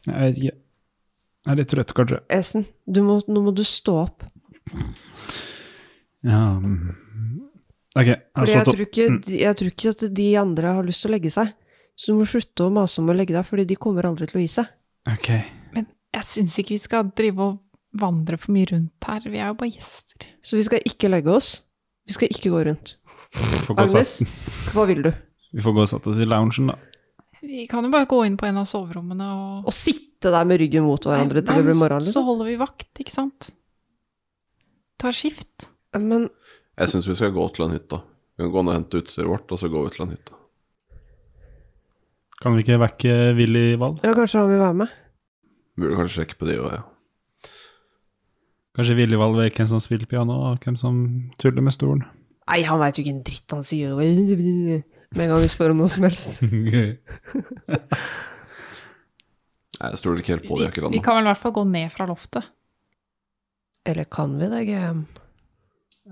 Speaker 4: Jeg vet ikke. Jeg er litt trøtt, kanskje.
Speaker 7: Esen, du må, nå må du stå opp.
Speaker 4: Ja. mm. Ok, jeg har
Speaker 7: Fordi jeg
Speaker 4: stått opp. Mm.
Speaker 7: tror, ikke, jeg tror ikke at de andre har lyst til å legge seg. Så du må slutte å mase om å legge deg, fordi de kommer aldri til å gi seg.
Speaker 4: Ok.
Speaker 3: Men jeg syns ikke vi skal drive og vandre for mye rundt her. Vi er jo bare gjester.
Speaker 7: Så vi skal ikke legge oss. Vi skal ikke gå rundt.
Speaker 4: Vi får gå og
Speaker 7: Agnes,
Speaker 4: sette-
Speaker 7: hva vil du?
Speaker 4: vi får gå og sette oss i loungen, da.
Speaker 3: Vi kan jo bare gå inn på en av soverommene og
Speaker 7: Å sitte der med ryggen mot hverandre til det blir morgen?
Speaker 3: Så
Speaker 7: Liksom.
Speaker 3: holder vi vakt, ikke sant? Tar skift.
Speaker 7: Men
Speaker 6: Jeg syns vi skal gå til den hytta. Vi kan gå ned og hente utstyret vårt, og så går vi til den hytta.
Speaker 4: Kan vi ikke vekke Willy Wald?
Speaker 7: ja, kanskje han vil være med?
Speaker 6: Burde kanskje sjekke på de og ja.
Speaker 4: Kanskje Willy Wald vet hvem som spiller piano, og hvem som tuller med *laughs* stolen?
Speaker 7: Nei, han veit jo ikke en dritt. Han sier jo med en gang vi spør om noe som helst.
Speaker 6: Nei, Jeg stoler ikke helt på de akkurat
Speaker 3: Vi
Speaker 6: nå.
Speaker 3: kan vel i hvert fall gå ned fra loftet.
Speaker 7: Eller kan vi det, GM?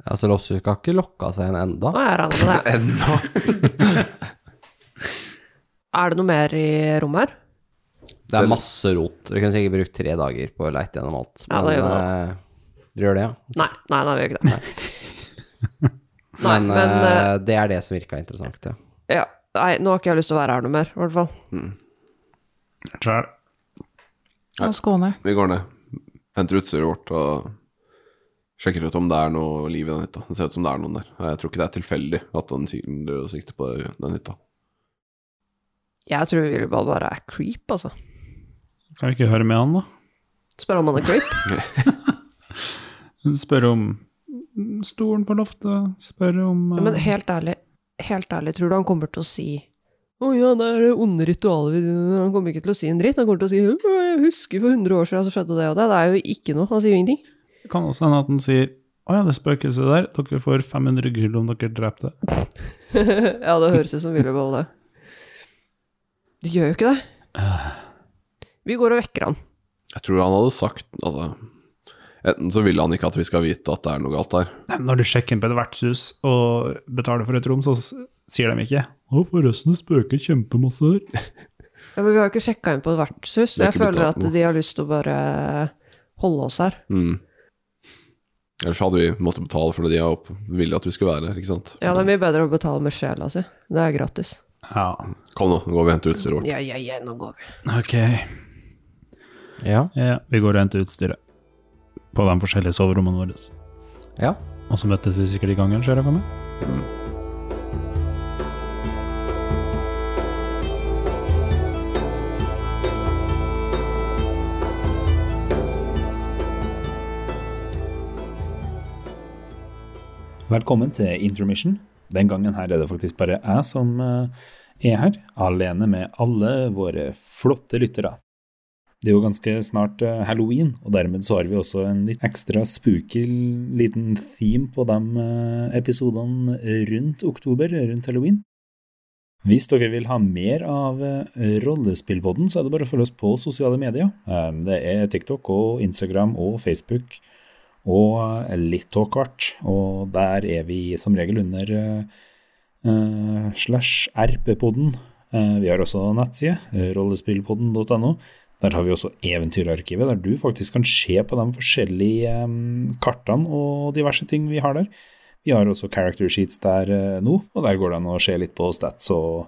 Speaker 2: Altså, Losshuk har ikke lokka seg inn enda.
Speaker 7: Nå er han med det.
Speaker 6: Ennå.
Speaker 7: Er det noe mer i rommet her?
Speaker 2: Det er masse rot. Dere kunne sikkert brukt tre dager på å leite gjennom alt.
Speaker 7: Ja, det gjør
Speaker 2: eh, dere gjør det, ja.
Speaker 7: Nei, nei, nei, vi
Speaker 2: *laughs*
Speaker 7: gjør ikke det. Nei,
Speaker 2: Men,
Speaker 7: men, eh,
Speaker 2: eh, det er det som virka interessant, ja.
Speaker 7: Ja, nei, nå har ikke jeg lyst til å være her noe mer, i hvert fall.
Speaker 4: Skjær.
Speaker 3: Ja, Skåne.
Speaker 6: Vi går ned, henter utstyret vårt og sjekker ut om det er noe liv i den hytta. Det ser ut som det er noen der. Jeg tror ikke det er tilfeldig at han sier og sikter på den hytta.
Speaker 7: Jeg tror Willibald bare er creep, altså.
Speaker 4: Kan vi ikke høre med han, da?
Speaker 7: Spør om han
Speaker 2: *laughs*
Speaker 7: er creep.
Speaker 4: Spør om stolen på loftet. Spør om eh,
Speaker 7: Men helt ærlig, helt ærlig, tror du han kommer til å si å ja, det er det onde ritualet vi Han kommer ikke til å si en dritt. Han kommer til å si «Å, jeg husker for 100 år siden så skjedde det og det. Det er jo ikke noe. Han sier jo ingenting.
Speaker 4: Det kan også hende at han sier å ja, det spøkelset der, dere får 500 gull om dere dreper det.
Speaker 7: ja, det høres ut som Willibald, det. Det gjør jo ikke det. Vi går og vekker han.
Speaker 6: Jeg tror han hadde sagt altså, Enten så vil han ikke at vi skal vite at det er noe galt der.
Speaker 4: Nei, Når du sjekker inn på et vertshus og betaler for et rom, så s- sier de ikke Å, forresten, det spøker kjempemasse der.
Speaker 7: Ja, men vi har jo ikke sjekka inn på et vertshus.
Speaker 6: Vi har
Speaker 7: Jeg
Speaker 6: ikke
Speaker 7: føler
Speaker 6: betalt
Speaker 7: at
Speaker 6: noe.
Speaker 7: de har lyst til å bare holde oss her.
Speaker 6: Mm. Ellers hadde vi måttet betale for det de har opp- ville at vi skulle være her, ikke sant.
Speaker 7: Ja, det er mye bedre å betale med sjela si. Det er gratis.
Speaker 4: Ja,
Speaker 6: Kom nå, nå går vi og henter utstyret vårt.
Speaker 7: Ja, ja, ja, nå går vi.
Speaker 4: ok.
Speaker 2: Ja.
Speaker 4: Ja, vi går og henter utstyret på de forskjellige soverommene våre.
Speaker 2: ja.
Speaker 4: Og så møttes vi sikkert i gangen, ser jeg for meg.
Speaker 8: Velkommen til Intermission. Den gangen her er det faktisk bare jeg som eh, er her, alene med alle våre flotte lyttere. Det er jo ganske snart eh, halloween, og dermed så har vi også en litt ekstra spooky liten theme på de eh, episodene rundt oktober, rundt halloween. Hvis dere vil ha mer av eh, rollespillpodden, så er det bare å følge oss på sosiale medier. Eh, Det er TikTok og Instagram og Facebook og eh, litt av hvert. Og der er vi som regel under eh, eh, slash RP-podden. Eh, vi har også nettside, eh, rollespillpodden.no. Der har vi også Eventyrarkivet, der du faktisk kan se på de forskjellige eh, kartene og diverse ting vi har der. Vi har også character sheets der eh, nå, og der går det an å se litt på stats og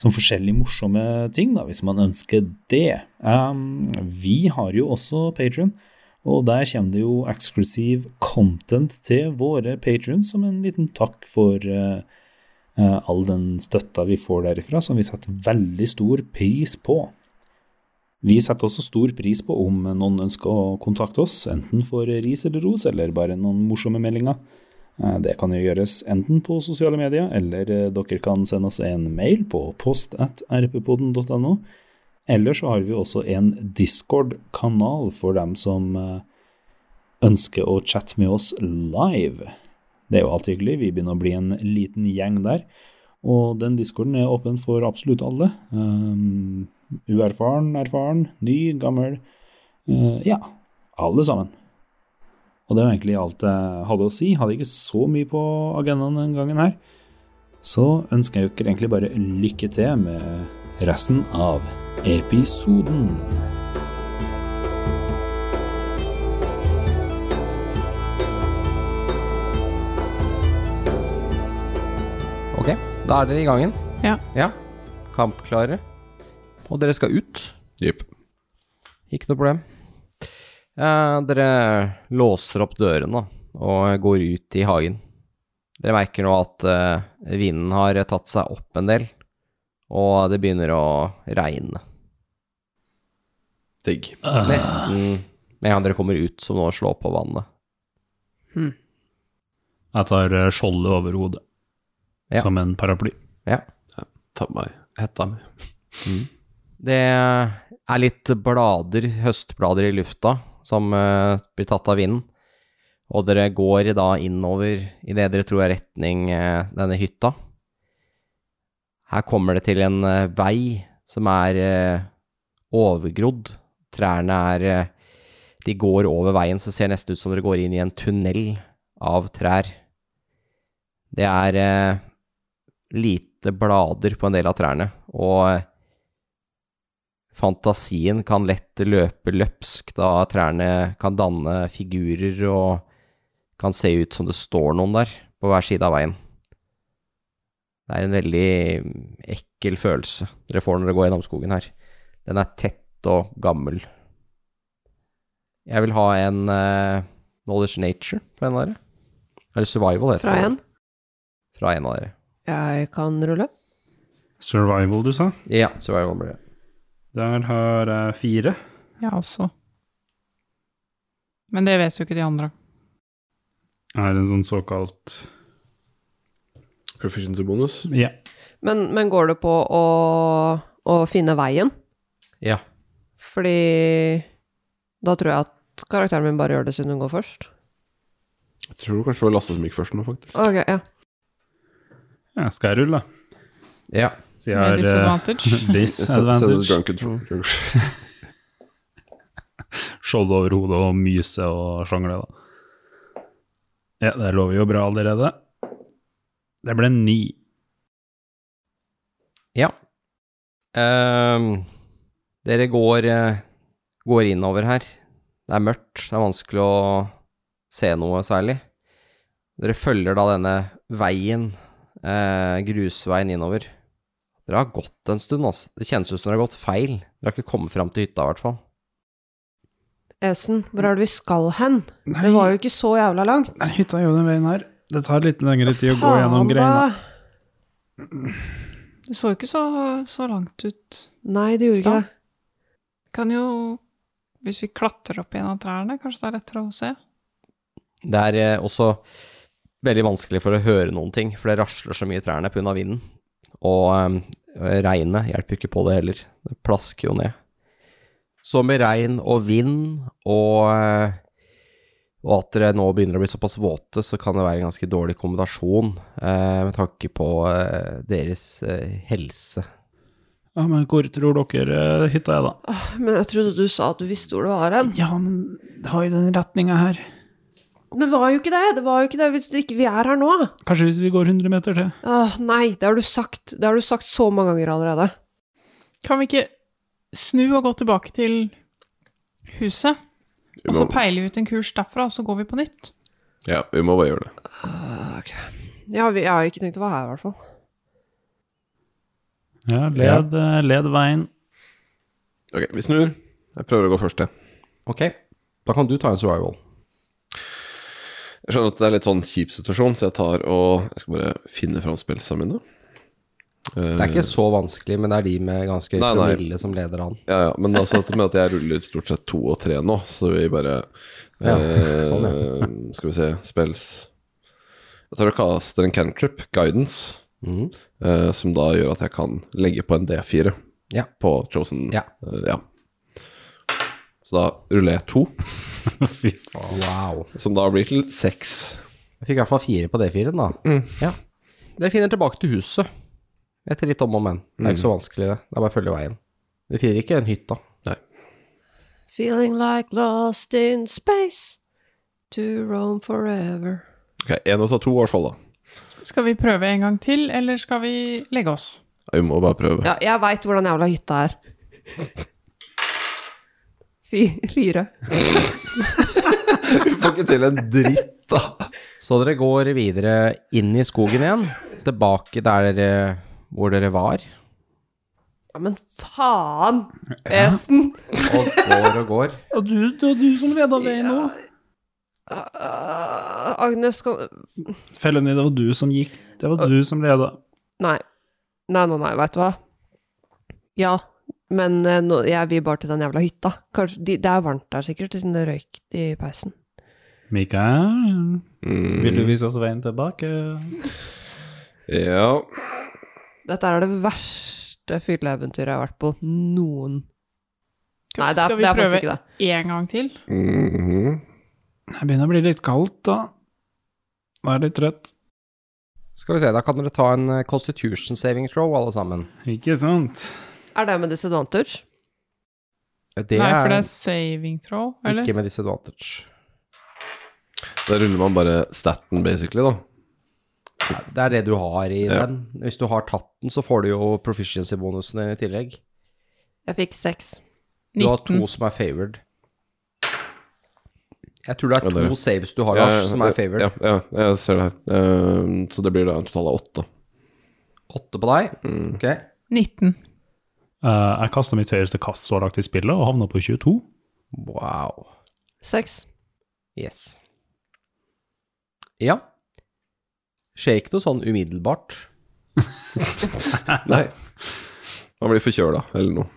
Speaker 8: sånn forskjellige morsomme ting, da, hvis man ønsker det. Um, vi har jo også Patron. Og der kommer det jo eksklusiv content til våre patrons som en liten takk for eh, eh, all den støtta vi får derifra, som vi setter veldig stor pris på. Vi setter også stor pris på om noen ønsker å kontakte oss, enten for ris eller ros, eller bare noen morsomme meldinger. Eh, Det kan jo gjøres enten på sosiale medier, eller eh, dere kan sende oss en mail på post at rppodden.no. Eller så har vi også en Discord-kanal for dem som eh, ønsker å chatte med oss live. Det er jo alltid hyggelig. Vi begynner å bli en liten gjeng der. Og den discorden er åpen for absolutt alle. Um, uerfaren, erfaren, ny, gammel. eh, ja, alle sammen. Og det var egentlig alt jeg hadde å si. Hadde ikke så mye på agendaen den gangen her. Så ønsker jeg dere egentlig bare lykke til med resten av episoden.
Speaker 2: Ok, da er dere i gangen.
Speaker 3: Ja.
Speaker 2: ja. Kampklare. Og dere skal ut.
Speaker 6: Jepp.
Speaker 2: Ikke noe problem. Eh, dere låser opp dørene og går ut i hagen. Dere merker nå at eh, vinden har tatt seg opp en del, og det begynner å regne.
Speaker 6: Digg.
Speaker 4: Ah.
Speaker 2: Nesten med en gang dere kommer ut, som nå slår på vannet.
Speaker 4: Jeg tar eh, skjoldet over hodet,
Speaker 2: Ja.
Speaker 4: som en paraply.
Speaker 2: Ja.
Speaker 6: Ta på meg hetta mi.
Speaker 2: Det er litt blader, høstblader i lufta, som eh, blir tatt av vinden. Og dere går da innover i det dere tror er retning eh, denne hytta. Her kommer det til en eh, vei som er eh, overgrodd. Trærne er eh, De går over veien, så det ser nesten ut som dere går inn i en tunnel av trær. Det er eh, lite blader på en del av trærne, og eh, fantasien kan lett løpe løpsk da trærne kan danne figurer og kan se ut som det står noen der på hver side av veien. Det er en veldig eh, ekkel følelse dere får når dere går gjennom skogen her. Den er tett og gammel. Jeg vil ha en eh, knowledge nature fra en av dere. Eller survival, heter
Speaker 7: Fra
Speaker 2: det.
Speaker 7: en.
Speaker 2: Fra en av dere.
Speaker 7: Jeg kan rulle.
Speaker 4: Survival, du sa?
Speaker 2: Ja, survival blir det.
Speaker 4: Der har jeg fire.
Speaker 3: Jeg også. Men det vet jo ikke de andre.
Speaker 4: Jeg har en sånn såkalt
Speaker 6: Proficiency bonus.
Speaker 4: Ja.
Speaker 7: Men, men går det på å, å finne veien?
Speaker 2: Ja.
Speaker 7: Fordi da tror jeg at karakteren min bare gjør det siden hun går først.
Speaker 6: Jeg tror det kanskje det var Lasse som gikk først nå, faktisk.
Speaker 7: Ok, ja.
Speaker 4: ja skal jeg rulle, da?
Speaker 2: Ja.
Speaker 4: Så jeg
Speaker 3: Med
Speaker 4: *laughs* har
Speaker 3: disadvantage.
Speaker 4: eh,
Speaker 6: Send
Speaker 4: disadvantage.
Speaker 6: drunken drunk.
Speaker 4: Skjold over hodet og myse og sjangle, da. Ja, det lover jo bra allerede. Det ble ni.
Speaker 2: Ja. Ehm, dere går, eh, går innover her. Det er mørkt, det er vanskelig å se noe særlig. Dere følger da denne veien, eh, grusveien innover. Dere har gått en stund, altså. Det kjennes ut som dere har gått feil. Dere har ikke kommet fram til hytta, i hvert fall.
Speaker 7: Esen, hvor er det vi skal hen?
Speaker 4: Nei,
Speaker 7: Det var jo ikke så jævla langt.
Speaker 4: nei, hytta er jo den veien her. Det tar litt lengre tid å gå
Speaker 7: Faen
Speaker 4: gjennom
Speaker 7: da.
Speaker 4: greina.
Speaker 3: Det så jo ikke så, så langt ut.
Speaker 7: Nei, det gjorde ikke
Speaker 3: Stand.
Speaker 7: det.
Speaker 3: Kan jo Hvis vi klatrer opp i en av trærne, kanskje det er lettere å se?
Speaker 2: Det er eh, også veldig vanskelig for å høre noen ting, for det rasler så mye i trærne pga. vinden. Og eh, regnet hjelper ikke på det heller. Det plasker jo ned. Så med regn og vind og eh, og at dere nå begynner å bli såpass våte, så kan det være en ganske dårlig kombinasjon eh, med tanke på eh, deres eh, helse.
Speaker 4: Ja, men hvor tror dere eh, hytta er, da?
Speaker 7: Men jeg trodde du sa at du visste hvor det var hen.
Speaker 4: Ja, men det har jo den retninga her.
Speaker 7: Det var jo ikke det! Det var jo ikke det hvis det ikke vi er her nå.
Speaker 4: Kanskje hvis vi går 100 meter til?
Speaker 7: Åh, nei, det har du sagt. Det har du sagt så mange ganger allerede.
Speaker 3: Kan vi ikke snu og gå tilbake til huset?
Speaker 6: *laughs*
Speaker 3: Og så peiler vi ut en kurs derfra, og så går vi på nytt?
Speaker 6: Ja, vi må bare gjøre det.
Speaker 7: Ja, vi, jeg har ikke tenkt å være her, i hvert fall.
Speaker 4: Ja, led, eh, led veien.
Speaker 6: Ok, vi snur. Jeg prøver å gå først, jeg.
Speaker 2: Ok, da kan du ta en survival.
Speaker 6: Jeg skjønner at det er litt sånn kjip situasjon, så jeg tar og Jeg skal bare finne fram spelsene mine.
Speaker 2: Det er ikke så vanskelig, men det er de med ganske høy
Speaker 6: Nei, nei.
Speaker 2: promille som leder an.
Speaker 6: Ja, ja,
Speaker 2: *laughs*
Speaker 6: men altså dette med at jeg ruller stort sett to og tre nå, så vi bare
Speaker 2: Ja,
Speaker 6: eh,
Speaker 2: sånn,
Speaker 6: Skal vi se, spells Jeg tar og kaster en cantrip, guidance,
Speaker 2: Mhm.
Speaker 6: eh, som da gjør at jeg kan legge på en D4
Speaker 2: Ja.
Speaker 6: på chosen
Speaker 2: Ja.
Speaker 6: eh, ja. Så da ruller jeg to,
Speaker 4: *laughs* Fy faen.
Speaker 2: Wow.
Speaker 6: som da blir til seks.
Speaker 2: Jeg fikk i hvert fall fire på D4-en, da. Ja. Mm. Dere finner tilbake til huset. Etter litt om og men. Det er ikke så vanskelig, det. Det er bare å følge veien. Dere finner ikke en hytta.
Speaker 7: Feeling like lost in space to roam forever.
Speaker 6: Ok, én ut av to, i hvert fall, da.
Speaker 3: Skal vi prøve en gang til, eller skal vi legge oss?
Speaker 6: Ja, Vi må bare prøve.
Speaker 7: Ja, jeg veit hvordan jævla hytta er. Fi, fire.
Speaker 6: *laughs* Vi får ikke til en dritt, da.
Speaker 2: Så dere går videre inn i skogen igjen. Tilbake der dere, hvor dere var.
Speaker 7: Ja, men faen, Esen!
Speaker 2: Og går og går.
Speaker 4: Og du, det var du som leda veien nå.
Speaker 7: Øh, Agnes skal
Speaker 4: Fellen i det var du som gikk. Det var du som leda.
Speaker 7: Nei. Nei, nei, nei, veit du hva. Ja, men eh, nå, jeg vil bare til den jævla hytta. Kanskje, de, det er varmt der sikkert, siden det røyk i peisen.
Speaker 4: Mikael,
Speaker 6: Mm,
Speaker 4: vil du vise oss veien tilbake?
Speaker 6: Ja.
Speaker 7: Dette er det verste fylleeventyret jeg har vært på noen. Nei, det er,
Speaker 3: Skal vi
Speaker 7: det er faktisk ikke
Speaker 3: prøve
Speaker 7: det.
Speaker 3: en gang til?
Speaker 6: Mhm.
Speaker 4: Jeg begynner å bli litt kaldt, da. Jeg er litt trøtt.
Speaker 2: Skal vi se, da kan dere ta en eh, constitution saving throw, alle sammen.
Speaker 4: Ikke sant?
Speaker 7: Er det med disadvantage?
Speaker 2: Det
Speaker 3: Nei, for det
Speaker 2: er
Speaker 3: er saving throw, eller?
Speaker 2: ikke med disadvantage.
Speaker 6: Da ruller man bare staten, basically, da.
Speaker 2: Det er det du har i
Speaker 6: Ja.
Speaker 2: den. Hvis du har tatt den, så får du jo proficiency-bonusen i tillegg.
Speaker 7: Jeg fikk seks.
Speaker 2: Du har
Speaker 3: 19.
Speaker 2: to som er favored. Jeg tror det
Speaker 6: Ja,
Speaker 2: er
Speaker 6: det er
Speaker 2: to
Speaker 6: det.
Speaker 2: saves du har, Lars, som er favored.
Speaker 6: Eh, Ja, ja, jeg ser det her. Eh, så det blir da en total av
Speaker 2: *laughs*
Speaker 6: åtte.
Speaker 2: Åtte på deg.
Speaker 6: Mm.
Speaker 2: Ok.
Speaker 3: 19.
Speaker 4: Eh, jeg kasta mitt høyeste kast så langt i spillet og havna på 22.
Speaker 2: Wow.
Speaker 7: Seks.
Speaker 2: Yes. Ja. Skjer ikke noe sånn umiddelbart.
Speaker 6: Nei. Man blir forkjøla eller noe.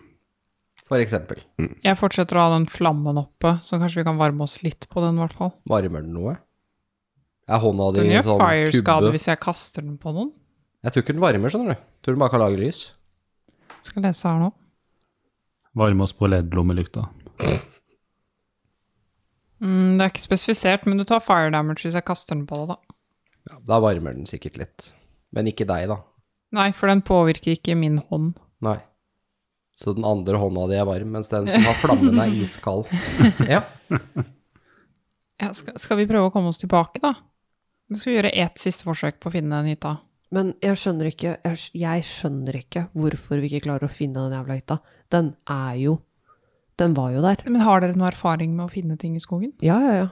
Speaker 2: For eksempel,
Speaker 3: Jeg fortsetter å ha den flammen oppe, så kanskje vi kan varme oss litt på den, i hvert fall.
Speaker 2: varmer den noe? Er hånda di
Speaker 3: Den
Speaker 2: en
Speaker 3: gjør
Speaker 2: sånn
Speaker 3: fire-skade
Speaker 2: tubbe?
Speaker 3: hvis jeg kaster den på noen.
Speaker 2: Jeg tror ikke den varmer, skjønner du. Tror den bare kan lage lys.
Speaker 3: Skal lese her nå.
Speaker 4: Varme oss på LED-lommelykta.
Speaker 3: Mm, det er ikke spesifisert, men du tar fire damage hvis jeg kaster den på deg, da.
Speaker 2: Ja, da varmer den sikkert litt. Men ikke deg, da.
Speaker 3: Nei, for den påvirker ikke min hånd.
Speaker 2: Nei. Så den andre hånda di er varm, mens den som har flammen, er iskald.
Speaker 3: *laughs*
Speaker 2: Ja.
Speaker 3: Ja, skal, skal vi prøve å komme oss tilbake, da? Nå skal vi gjøre ett siste forsøk på å finne den hytta.
Speaker 7: Men jeg skjønner ikke jeg, skj- jeg skjønner ikke hvorfor vi ikke klarer å finne den jævla hytta. Den er jo Den var jo der.
Speaker 3: Men har dere noe erfaring med å finne ting i skogen?
Speaker 7: Ja, ja, ja.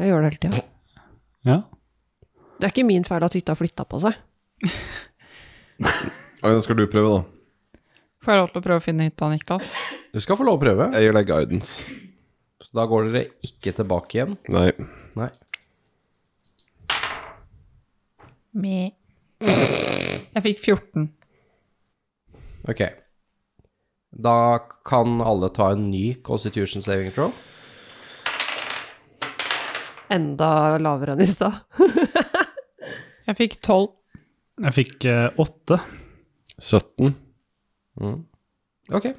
Speaker 7: Jeg gjør det hele tida.
Speaker 4: Ja.
Speaker 7: Det er ikke min feil at hytta flytta på seg.
Speaker 6: Agnes, skal du prøve, da?
Speaker 3: Får jeg lov til å prøve å finne hytta, Niklas?
Speaker 2: Du skal få lov å prøve.
Speaker 6: Jeg gir deg guidance.
Speaker 2: Så da går dere ikke tilbake igjen.
Speaker 6: Nei.
Speaker 2: Nei.
Speaker 3: Me. Jeg fikk 14.
Speaker 2: Ok. Da kan alle ta en ny Constitution saving throw.
Speaker 7: Enda lavere enn i stad.
Speaker 3: Jeg fikk 12.
Speaker 4: Jeg fikk eh, åtte.
Speaker 6: 17.
Speaker 2: Ok.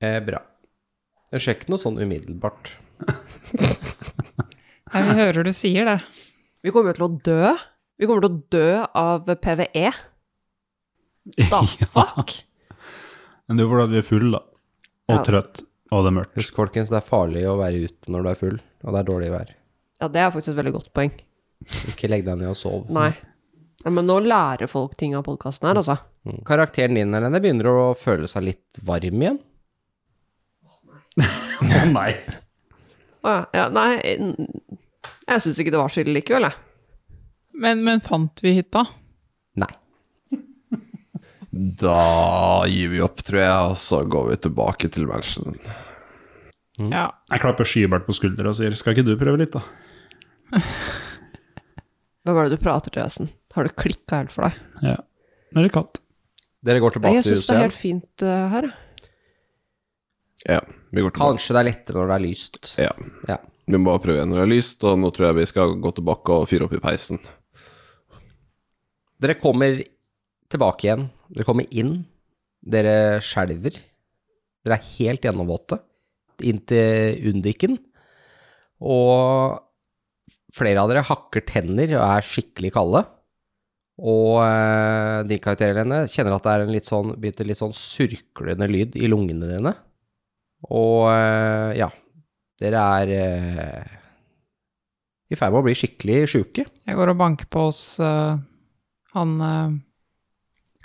Speaker 2: Eh, bra. Det skjer ikke noe sånn umiddelbart.
Speaker 3: Nei, vi hører du sier det.
Speaker 7: Vi kommer jo til å dø. Vi kommer til å dø av PVE.
Speaker 4: *laughs*
Speaker 7: Da fuck!
Speaker 4: Men det er jo fordi at vi er full da. Og
Speaker 7: Ja.
Speaker 4: trøtt. Og det er mørkt.
Speaker 2: Husk, folkens, det er farlig å være ute når du er full, og det er dårlig vær.
Speaker 7: Ja, det er faktisk et veldig godt poeng.
Speaker 2: Ikke legg deg ned og sov.
Speaker 7: Nei. Nei, men nå lærer folk ting av podkasten her, altså.
Speaker 2: Mm. Karakteren din Helene, begynner å føle seg litt varm igjen.
Speaker 4: Å nei.
Speaker 7: Å ja, ja, nei n- Jeg syns ikke det var så ille likevel, jeg.
Speaker 3: Men, men fant vi hytta?
Speaker 2: Nei.
Speaker 6: Da gir vi opp, tror jeg, og så går vi tilbake til mansionen.
Speaker 3: Ja.
Speaker 4: Jeg klapper Skybert på skuldra og sier 'skal ikke du prøve litt', da?
Speaker 7: Hvem er det du prater til, Øsen? Har det klikka helt for deg?
Speaker 4: Ja. Nå er det kaldt.
Speaker 2: Dere går
Speaker 7: Nei,
Speaker 2: tilbake
Speaker 7: jeg
Speaker 2: til
Speaker 7: syns
Speaker 2: huset
Speaker 7: det er
Speaker 2: igjen.
Speaker 7: helt fint eh, her, jeg.
Speaker 6: Ja, vi går tilbake.
Speaker 2: Kanskje det er lettere når det er lyst.
Speaker 6: Ja.
Speaker 2: Ja.
Speaker 6: Vi må bare prøve igjen når det er lyst, og nå tror jeg vi skal gå tilbake og fyre opp i peisen.
Speaker 2: Dere kommer tilbake igjen. Dere kommer inn. Dere skjelver. Dere er helt gjennomvåte. Inn til undiken. Og flere av dere hakker tenner og er skikkelig kalde. Og eh, din karakter, Helene, kjenner at det er en litt sånn, begynte litt sånn surklende lyd i lungene dine. Og eh, ja, dere er eh, i ferd med å bli skikkelig sjuke.
Speaker 3: Jeg går og banker på hos eh, han uh,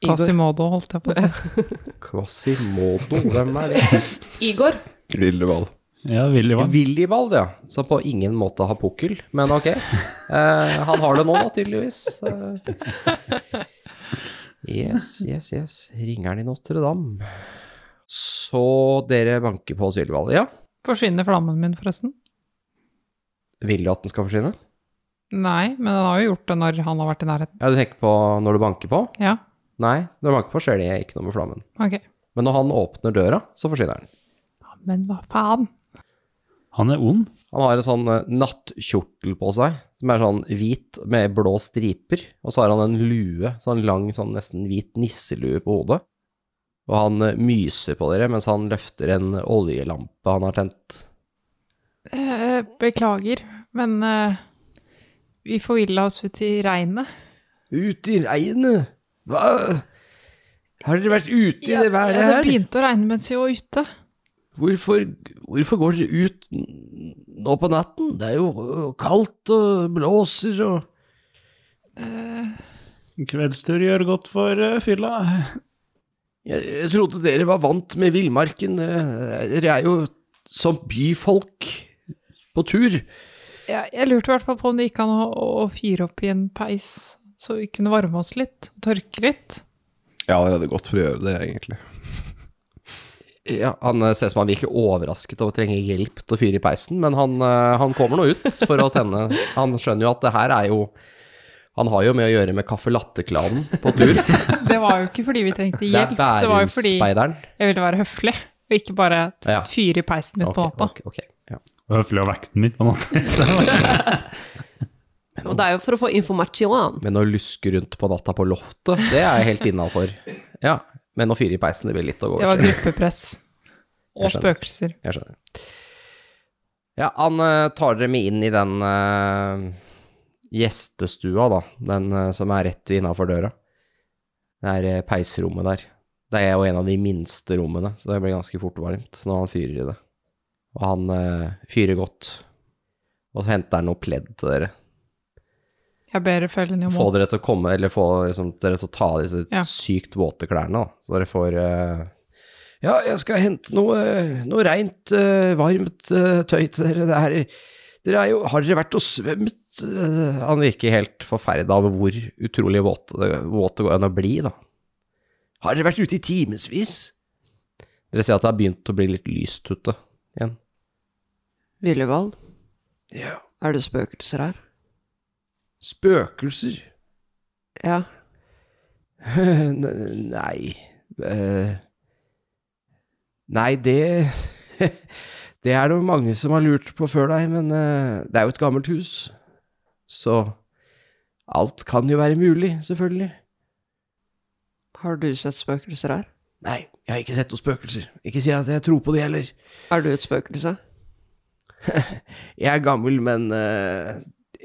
Speaker 7: Igor.
Speaker 3: Quasimodo, holdt jeg på å si. *laughs*
Speaker 2: Quasimodo, hvem er det?
Speaker 7: Igor?
Speaker 6: Villevall.
Speaker 4: Ja, Willy vant.
Speaker 2: Willibald, ja. Som på ingen måte har pukkel, men ok. Eh, han har det nå, da, tydeligvis. Eh, yes, yes, yes. Ringeren i Notre-Dame. Så dere banker på hos Willibald. Ja,
Speaker 3: Forsvinner flammen min, forresten?
Speaker 2: vil du at den skal forsvinne?
Speaker 3: Nei, men den har jo gjort det når han har vært i nærheten.
Speaker 2: Ja, du tenker på når du banker på?
Speaker 3: Ja,
Speaker 2: Nei, når du banker på skjer det ikke noe med flammen.
Speaker 3: ok.
Speaker 2: Men når han åpner døra, så forsvinner den.
Speaker 3: Ja, Men hva faen?
Speaker 4: Han er ond.
Speaker 2: Han har en sånn eh, nattkjortel på seg, som er sånn hvit med blå striper. Og så har han en lue, sånn lang, sånn nesten hvit nisselue på hodet. Og han eh, myser på dere mens han løfter en oljelampe han har tent.
Speaker 3: Eh, beklager, men eh, vi forvilla oss ut i regnet.
Speaker 5: Ut i regnet? Hva? Har dere vært ute i det været
Speaker 3: Ja, det
Speaker 5: her?
Speaker 3: begynte å regne mens vi var ute.
Speaker 5: Hvorfor, hvorfor går dere ut n- nå på natten? Det er jo øh, kaldt og blåser og
Speaker 4: En kveldstur gjør godt for eh, fylla.
Speaker 5: Jeg, jeg trodde dere var vant med villmarken. eh, Dere er jo som byfolk på tur.
Speaker 3: Ja, jeg lurte i hvert fall på om det gikk an å, å fyre opp i en peis, så vi kunne varme oss litt, tørke litt.
Speaker 6: Jeg har allerede gått for å gjøre det, egentlig.
Speaker 2: Ja, han eh, ser ut som han virker overrasket over å trenge hjelp til å fyre i peisen, men han, eh, han kommer nå ut for å tenne. Han skjønner jo at det her er jo Han har jo med å gjøre med caffè latte-klanen på tur. Det
Speaker 3: Det var jo ikke fordi vi
Speaker 2: *laughs*
Speaker 3: trengte
Speaker 2: er
Speaker 3: *laughs* hjelp, det var jo fordi jeg
Speaker 2: Bærumsspeideren.
Speaker 3: ville være høflig, og ikke bare
Speaker 2: Ja.
Speaker 3: fyre i peisen midt
Speaker 2: Ok,
Speaker 3: på natta.
Speaker 2: ok, ok, ja.
Speaker 4: Høflig å vekke den midt på natta.
Speaker 7: *laughs* Og det er jo for å få informasjon.
Speaker 2: Men å luske rundt på natta på loftet, det er jeg helt innafor. Ja, men å fyre i peisen, det blir litt å gå
Speaker 3: Det var
Speaker 2: over.
Speaker 3: gruppepress. Og
Speaker 2: Jeg skjønner.
Speaker 3: spøkelser.
Speaker 2: Jeg skjønner. Ja, han eh, tar dere med inn i den eh, gjestestua, da. Den eh, som er rett innafor døra. Det er eh, peisrommet der. Det er jo en av de minste rommene, så det blir ganske fort varmt når han fyrer i det. Og han eh, fyrer godt. Og så henter han noe pledd til dere.
Speaker 3: Jeg ber følgende om
Speaker 2: Få
Speaker 3: å
Speaker 2: dere til å komme, eller få liksom, dere til å ta av disse
Speaker 3: Ja.
Speaker 2: sykt våte klærne, da. Så dere får eh,
Speaker 5: Ja, jeg skal hente noe, noe reint, eh, varmt eh, tøy til dere. Det er, dere er jo, har dere vært og svømt? eh?
Speaker 2: Han virker helt forferda over hvor utrolig våt, eh, våt det går an å bli, da.
Speaker 5: Har dere vært ute i timevis?
Speaker 2: Dere ser at det har begynt å bli litt lyst ute igjen.
Speaker 7: Villevald,
Speaker 5: Ja.
Speaker 7: er det spøkelser her?
Speaker 5: Spøkelser?
Speaker 7: Ja.
Speaker 5: N- Nei Eh, Nei, det *laughs* Det er det jo mange som har lurt på før deg, men eh, det er jo et gammelt hus. Så alt kan jo være mulig, selvfølgelig.
Speaker 7: Har du sett spøkelser her?
Speaker 5: Nei, jeg har ikke sett noen spøkelser. Ikke si at jeg tror på de heller.
Speaker 7: Er du et spøkelse?
Speaker 5: Jeg er gammel, men eh,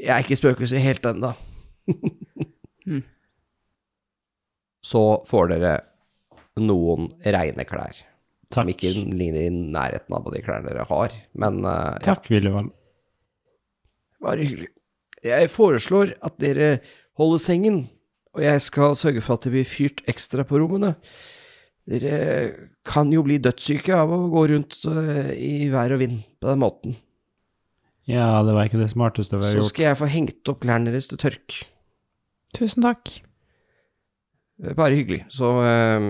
Speaker 5: jeg er ikke spøkelse helt *laughs* ennå.
Speaker 2: Så får dere noen reine klær. Som
Speaker 4: Takk.
Speaker 2: ikke ligner i nærheten av de klærne dere har. Men eh, ja,
Speaker 4: Takk, Willevald.
Speaker 5: Bare hyggelig. Jeg foreslår at dere holder sengen, og jeg skal sørge for at det blir fyrt ekstra på rommene. Dere kan jo bli dødssyke av å gå rundt eh, i vær og vind på den måten.
Speaker 4: Ja, det var ikke det smarteste vi har
Speaker 5: Så
Speaker 4: gjort.
Speaker 5: skal jeg få hengt opp klærne deres til tørk.
Speaker 3: Tusen takk.
Speaker 5: Eh, Bare hyggelig.
Speaker 2: så eh,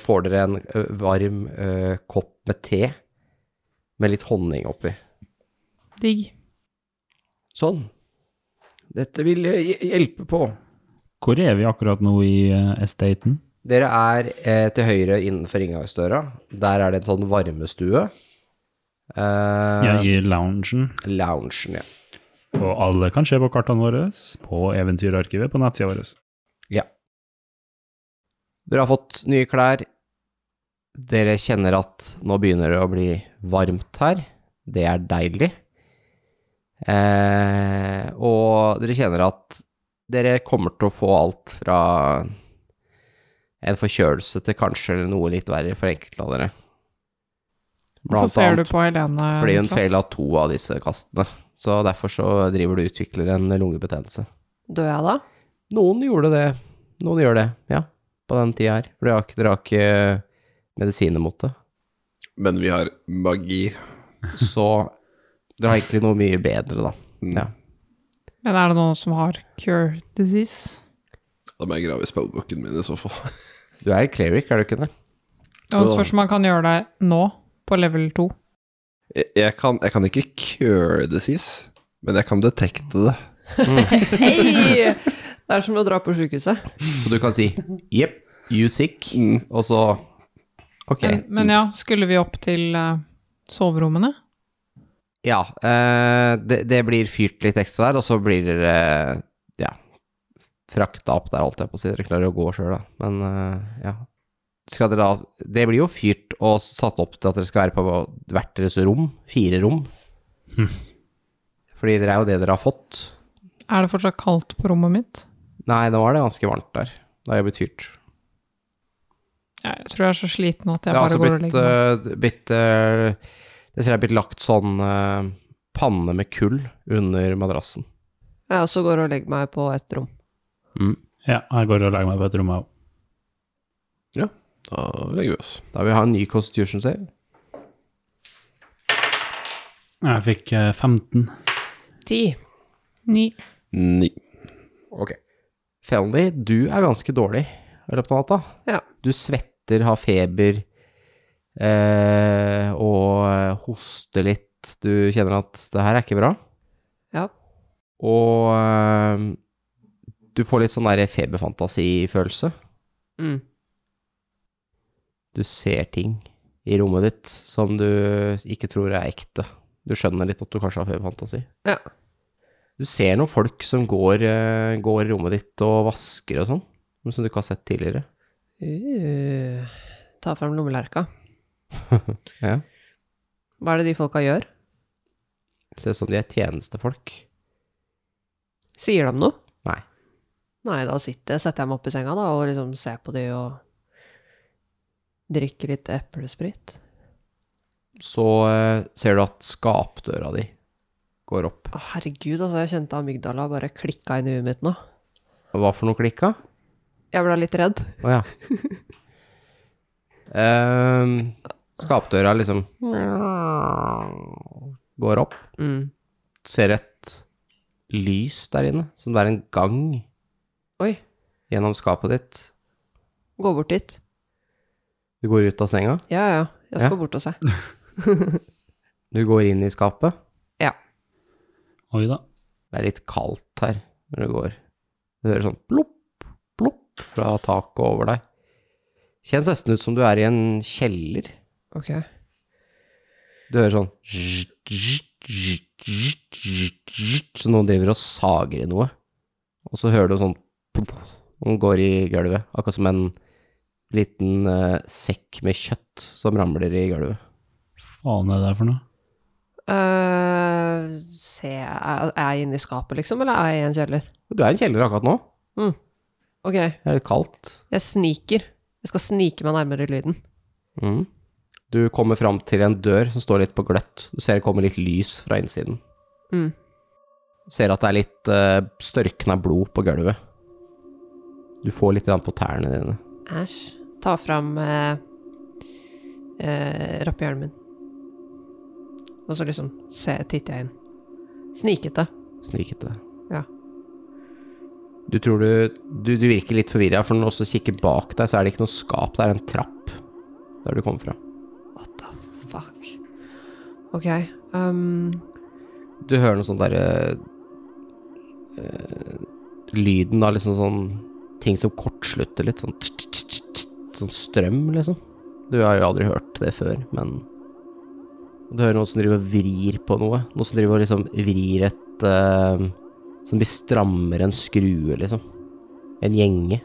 Speaker 2: får dere en eh, varm eh, kopp med te med litt honning oppi.
Speaker 3: Digg.
Speaker 5: Sånn. Dette vil eh, hj- hjelpe på.
Speaker 4: Hvor er vi akkurat nå i eh, estaten?
Speaker 2: Dere er eh, til høyre innenfor inngangsdøra. Der er det en sånn varmestue. Eh,
Speaker 4: Ja, i loungen.
Speaker 2: Loungen, ja.
Speaker 4: Og alle kan se på kartene våre, på Eventyrarkivet, på nettsida vår.
Speaker 2: Dere har fått nye klær. Dere kjenner at nå begynner det å bli varmt her. Det er deilig. Eh, og dere kjenner at dere kommer til å få alt fra en forkjølelse til kanskje noe litt verre for enkelte av dere.
Speaker 3: Hvorfor
Speaker 2: Blant
Speaker 3: ser du
Speaker 2: annet
Speaker 3: på Helene?
Speaker 2: fordi hun
Speaker 3: Niklas?
Speaker 2: feila to av disse kastene. Så derfor så driver du og utvikler en lungebetennelse.
Speaker 7: Dør jeg da?
Speaker 2: Noen gjorde det. Noen gjør det, ja. På den tida her. For dere har ikke, dere har ikke medisiner mot det.
Speaker 6: Men vi har magi.
Speaker 2: Så dere har egentlig noe mye bedre, da. Ja.
Speaker 3: Men er det noen som har cure disease?
Speaker 6: Da må jeg grave i spellbooken min i så fall.
Speaker 2: Du er cleric, er du ikke det?
Speaker 3: Og det spørs om man kan gjøre det nå, på level 2.
Speaker 6: Jeg, jeg, kan, jeg kan ikke cure disease, men jeg kan detekte det.
Speaker 7: Hei! *laughs* Det er som å dra på sykehuset.
Speaker 2: Så du kan si jepp, you sick, og så Ok.
Speaker 3: Men, men ja, skulle vi opp til eh, soverommene?
Speaker 2: Ja, eh, det, det blir fyrt litt ekstra der, og så blir dere eh, ja, frakta opp der, holdt jeg på å si. Dere klarer å gå sjøl, da. Men eh, ja. Skal dere da Det blir jo fyrt og satt opp til at dere skal være på hvert deres rom. Fire rom. Fordi dere er jo det dere har fått.
Speaker 3: Er det fortsatt kaldt på rommet mitt?
Speaker 2: Nei, nå er det ganske varmt der. Da har jeg blitt fyrt.
Speaker 3: Ja, Jeg tror jeg er så sliten at
Speaker 2: har
Speaker 3: jeg bare
Speaker 2: altså
Speaker 3: går og
Speaker 2: blitt,
Speaker 3: legger meg.
Speaker 2: eh, blitt eh, Jeg ser det er blitt lagt sånn eh, panne med kull under madrassen.
Speaker 7: Jeg også går og legger meg på ett rom.
Speaker 2: Mm.
Speaker 4: Ja, jeg går og legger meg på et rom, jeg òg.
Speaker 6: Da legger vi oss.
Speaker 2: Da vil jeg ha en ny constitution save.
Speaker 4: Jeg fikk eh, 15.
Speaker 7: Ti.
Speaker 3: Ni.
Speaker 6: Ni.
Speaker 2: Ok. Felony, du er ganske dårlig i løpet av natta.
Speaker 7: Ja.
Speaker 2: Du svetter, har feber eh, og hoster litt. Du kjenner at det her er ikke bra.
Speaker 7: Ja.
Speaker 2: Og eh, du får litt sånn der feberfantasifølelse.
Speaker 7: Mm.
Speaker 2: Du ser ting i rommet ditt som du ikke tror er ekte. Du skjønner litt at du kanskje har feberfantasi.
Speaker 7: Ja.
Speaker 2: Du ser noen folk som går, eh, går i rommet ditt og vasker og sånn, men som du ikke har sett tidligere.
Speaker 7: Uh, ta fram lommelerka.
Speaker 2: Ja.
Speaker 7: Hva er det de folka gjør?
Speaker 2: Det ser ut som de er tjenestefolk.
Speaker 7: Sier de noe?
Speaker 2: Nei.
Speaker 7: Nei, da sitter, setter jeg meg opp i senga da, og liksom ser på de og drikker litt eplesprit.
Speaker 2: Så eh, ser du at skapdøra di går opp.
Speaker 7: Å, herregud, altså, jeg kjente amygdala bare klikka inn i huet mitt nå.
Speaker 2: Hva for noe klikka?
Speaker 7: Jeg ble litt redd.
Speaker 2: Å ja. Ehm, skapdøra liksom går opp.
Speaker 7: Mm.
Speaker 2: Ser et lys der inne, som det er en gang
Speaker 7: Oi,
Speaker 2: gjennom skapet ditt.
Speaker 7: gå bort dit.
Speaker 2: Du går ut av senga,
Speaker 7: Ja, ja, jeg
Speaker 2: Ja.
Speaker 7: skal bort og se.
Speaker 2: du går inn i skapet.
Speaker 4: Oi da.
Speaker 2: Det er litt kaldt her når du går. Du hører sånn plopp, plopp fra taket over deg. Kjennes nesten ut som du er i en kjeller.
Speaker 7: Ok. Eh,
Speaker 2: Du hører sånn zzt, zzt, zzt, zzt, zzt, zzt, Så noen driver og sager i noe. Og så hører du sånn plopp, Noen går i gulvet. Akkurat som en liten eh, sekk med kjøtt som ramler i gulvet.
Speaker 4: Faen er det der for noe?
Speaker 7: Eh, se, er er jeg inne i skapet liksom, eller er jeg i en kjeller?
Speaker 2: Du er i en kjeller akkurat nå.
Speaker 7: Ok,
Speaker 2: Det er litt kaldt.
Speaker 7: jeg sniker. Jeg skal snike meg nærmere lyden.
Speaker 2: Mm. Du kommer fram til en dør som står litt på gløtt. Du ser det kommer litt lys fra innsiden.
Speaker 7: Mm.
Speaker 2: Du ser at det er litt uh, størkna blod på gulvet. Du får litt grann på tærne dine.
Speaker 7: Æsj. Ta fram eh, eh, rappehjelmen min. Og så liksom se, titter jeg inn. Snikete.
Speaker 2: Snikete.
Speaker 7: Ja.
Speaker 2: Du tror du Du, du virker litt forvirra, for når du også kikker bak deg, så er det ikke noe skap, det er en trapp der du kommer fra.
Speaker 7: What the fuck? Ok. Um,
Speaker 2: Du hører noe sånn derre eh, Lyden av liksom sånn Ting som kortslutter litt, sånn tsk, tsk, tsk, tsk, Sånn strøm, liksom. Du har jo aldri hørt det før, men Du hører noen som driver og vrir på noe. Noen som driver og liksom vrir et eh, Som blir strammere enn skrue, liksom. En gjenge.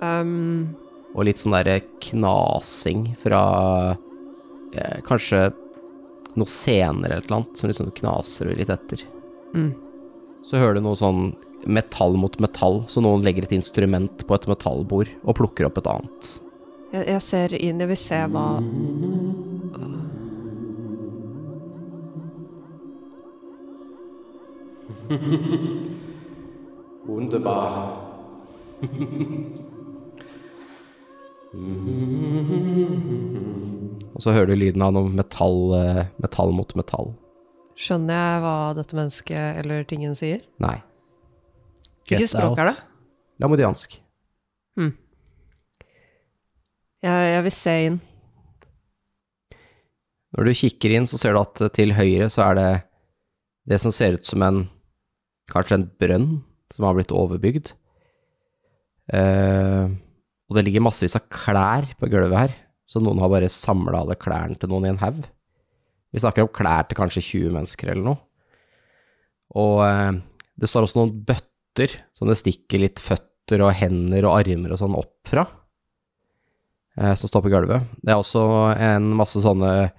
Speaker 7: um,
Speaker 2: Og litt sånn derre knasing fra eh, Kanskje noe senere eller et eller annet, som liksom knaser du litt etter.
Speaker 7: Mm.
Speaker 2: Så hører du noe sånn metall mot metall, så noen legger et instrument på et metallbord og plukker opp et annet.
Speaker 7: jeg, jeg ser inn, jeg vil se hva
Speaker 2: Wunderbar. *laughs* og så hører du lyden av noe metall, eh, metall mot metall.
Speaker 7: Skjønner jeg hva dette mennesket eller tingen sier?
Speaker 2: Nei,
Speaker 4: Get
Speaker 7: Hvilket språk er
Speaker 4: out.
Speaker 7: det?
Speaker 2: lamodiansk.
Speaker 7: Jeg, jeg vil se inn.
Speaker 2: Når du kikker inn, så ser du at til høyre så er det det som ser ut som en Kanskje en brønn som har blitt overbygd. Eh, og det ligger massevis av klær på gulvet her, så noen har bare samla alle klærne til noen i en haug. Vi snakker om klær til kanskje 20 mennesker eller noe. Og eh, det står også noen bøtter som det stikker litt føtter og hender og armer og sånn opp fra, eh, som står på gulvet. Det er også en masse sånne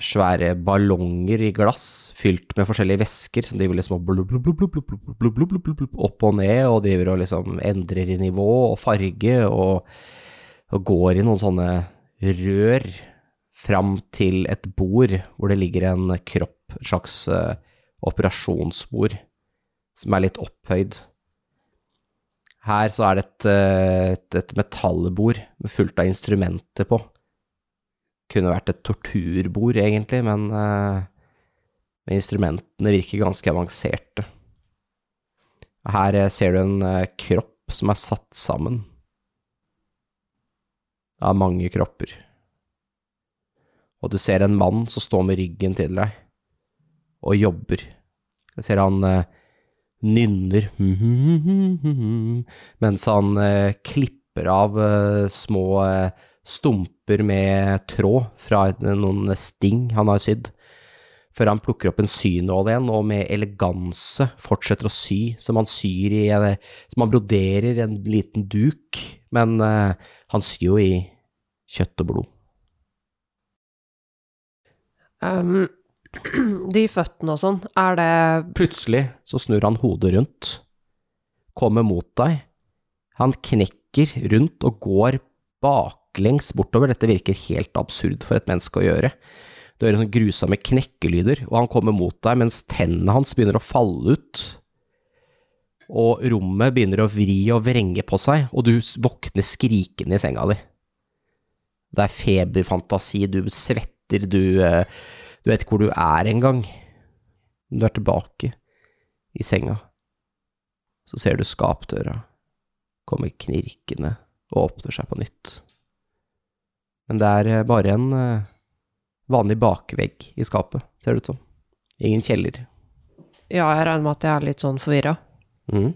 Speaker 2: svære ballonger i glass fylt med forskjellige væsker som driver liksom og blub, blub, blub, blub, blub, blub, blub, blub, blub, blub, opp og ned og driver og liksom endrer i nivå og farge og, og går i noen sånne rør fram til et bord hvor det ligger en kropp, et slags eh, operasjonsbord som er litt opphøyd. Her så er det et, eh, et, et metallbord med fullt av instrumenter på. Kunne vært et torturbord, egentlig, men, eh, men instrumentene virker ganske avanserte. Her eh, ser du en eh, kropp som er satt sammen av mange kropper. Og du ser en mann som står med ryggen til deg og jobber. Du ser han eh, nynner *laughs* mens han eh, klipper av eh, små eh, stumper med tråd fra noen sting han har sydd, før han plukker opp en synål igjen og med eleganse fortsetter å sy, som han syr i en, som han broderer en liten duk, men eh, han syr jo i kjøtt og blod.
Speaker 7: Um, *clears throat* de føttene og sånn, er det
Speaker 2: Plutselig så snur han hodet rundt, kommer mot deg. Han knekker rundt og går baklengs bortover. Dette virker helt absurd for et menneske å gjøre. Du hører sånne grusomme knekkelyder, og han kommer mot deg mens tennene hans begynner å falle ut. Og rommet begynner å vri og vrenge på seg, og du s- våkner skrikende i senga di. Det er feberfantasi, du svetter, du, eh, du vet ikke hvor du er engang. Men Du er tilbake i senga. Så ser du skapdøra kommer knirkende og åpner seg på nytt. Men det er eh, bare en eh, vanlig bakvegg i skapet, ser det ut som. Ingen kjeller.
Speaker 7: Ja, jeg regner med at jeg er litt sånn forvirra.
Speaker 2: Mm.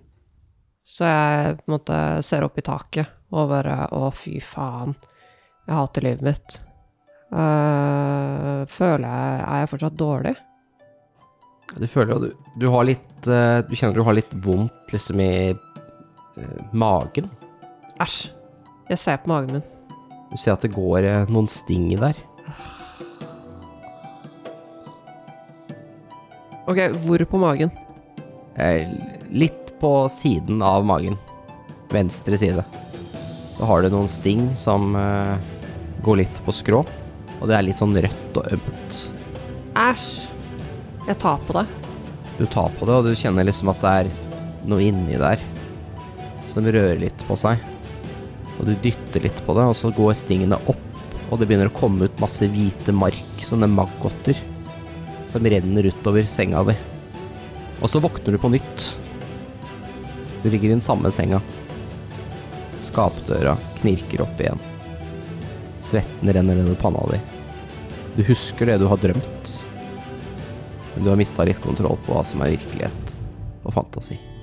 Speaker 7: Så jeg på en måte ser opp i taket og bare Å, fy faen. Jeg hater livet mitt. Eh, føler jeg Er jeg fortsatt dårlig?
Speaker 2: Du føler jo du, du har litt eh, Du kjenner du har litt vondt liksom i eh, magen.
Speaker 7: Æsj. Jeg ser på magen min.
Speaker 2: Du ser at det går eh, noen sting der.
Speaker 7: Ok, hvor på magen?
Speaker 2: Eh, Litt på siden av magen. Venstre side. Så har du noen sting som eh, går litt på skrå, og det er litt sånn rødt og ømt.
Speaker 7: Æsj. Jeg tar på det.
Speaker 2: Du tar på det, og du kjenner liksom at det er noe inni der som rører litt på seg. Og du dytter litt på det, og så går stingene opp, og det begynner å komme ut masse hvite mark, sånne maggotter, som renner utover senga di. Og så våkner du på nytt. Du ligger i den samme senga. Skapdøra knirker opp igjen. Svetten renner nedover panna di. Du husker det du har drømt. Men du har mista litt kontroll på hva som er virkelighet og fantasi.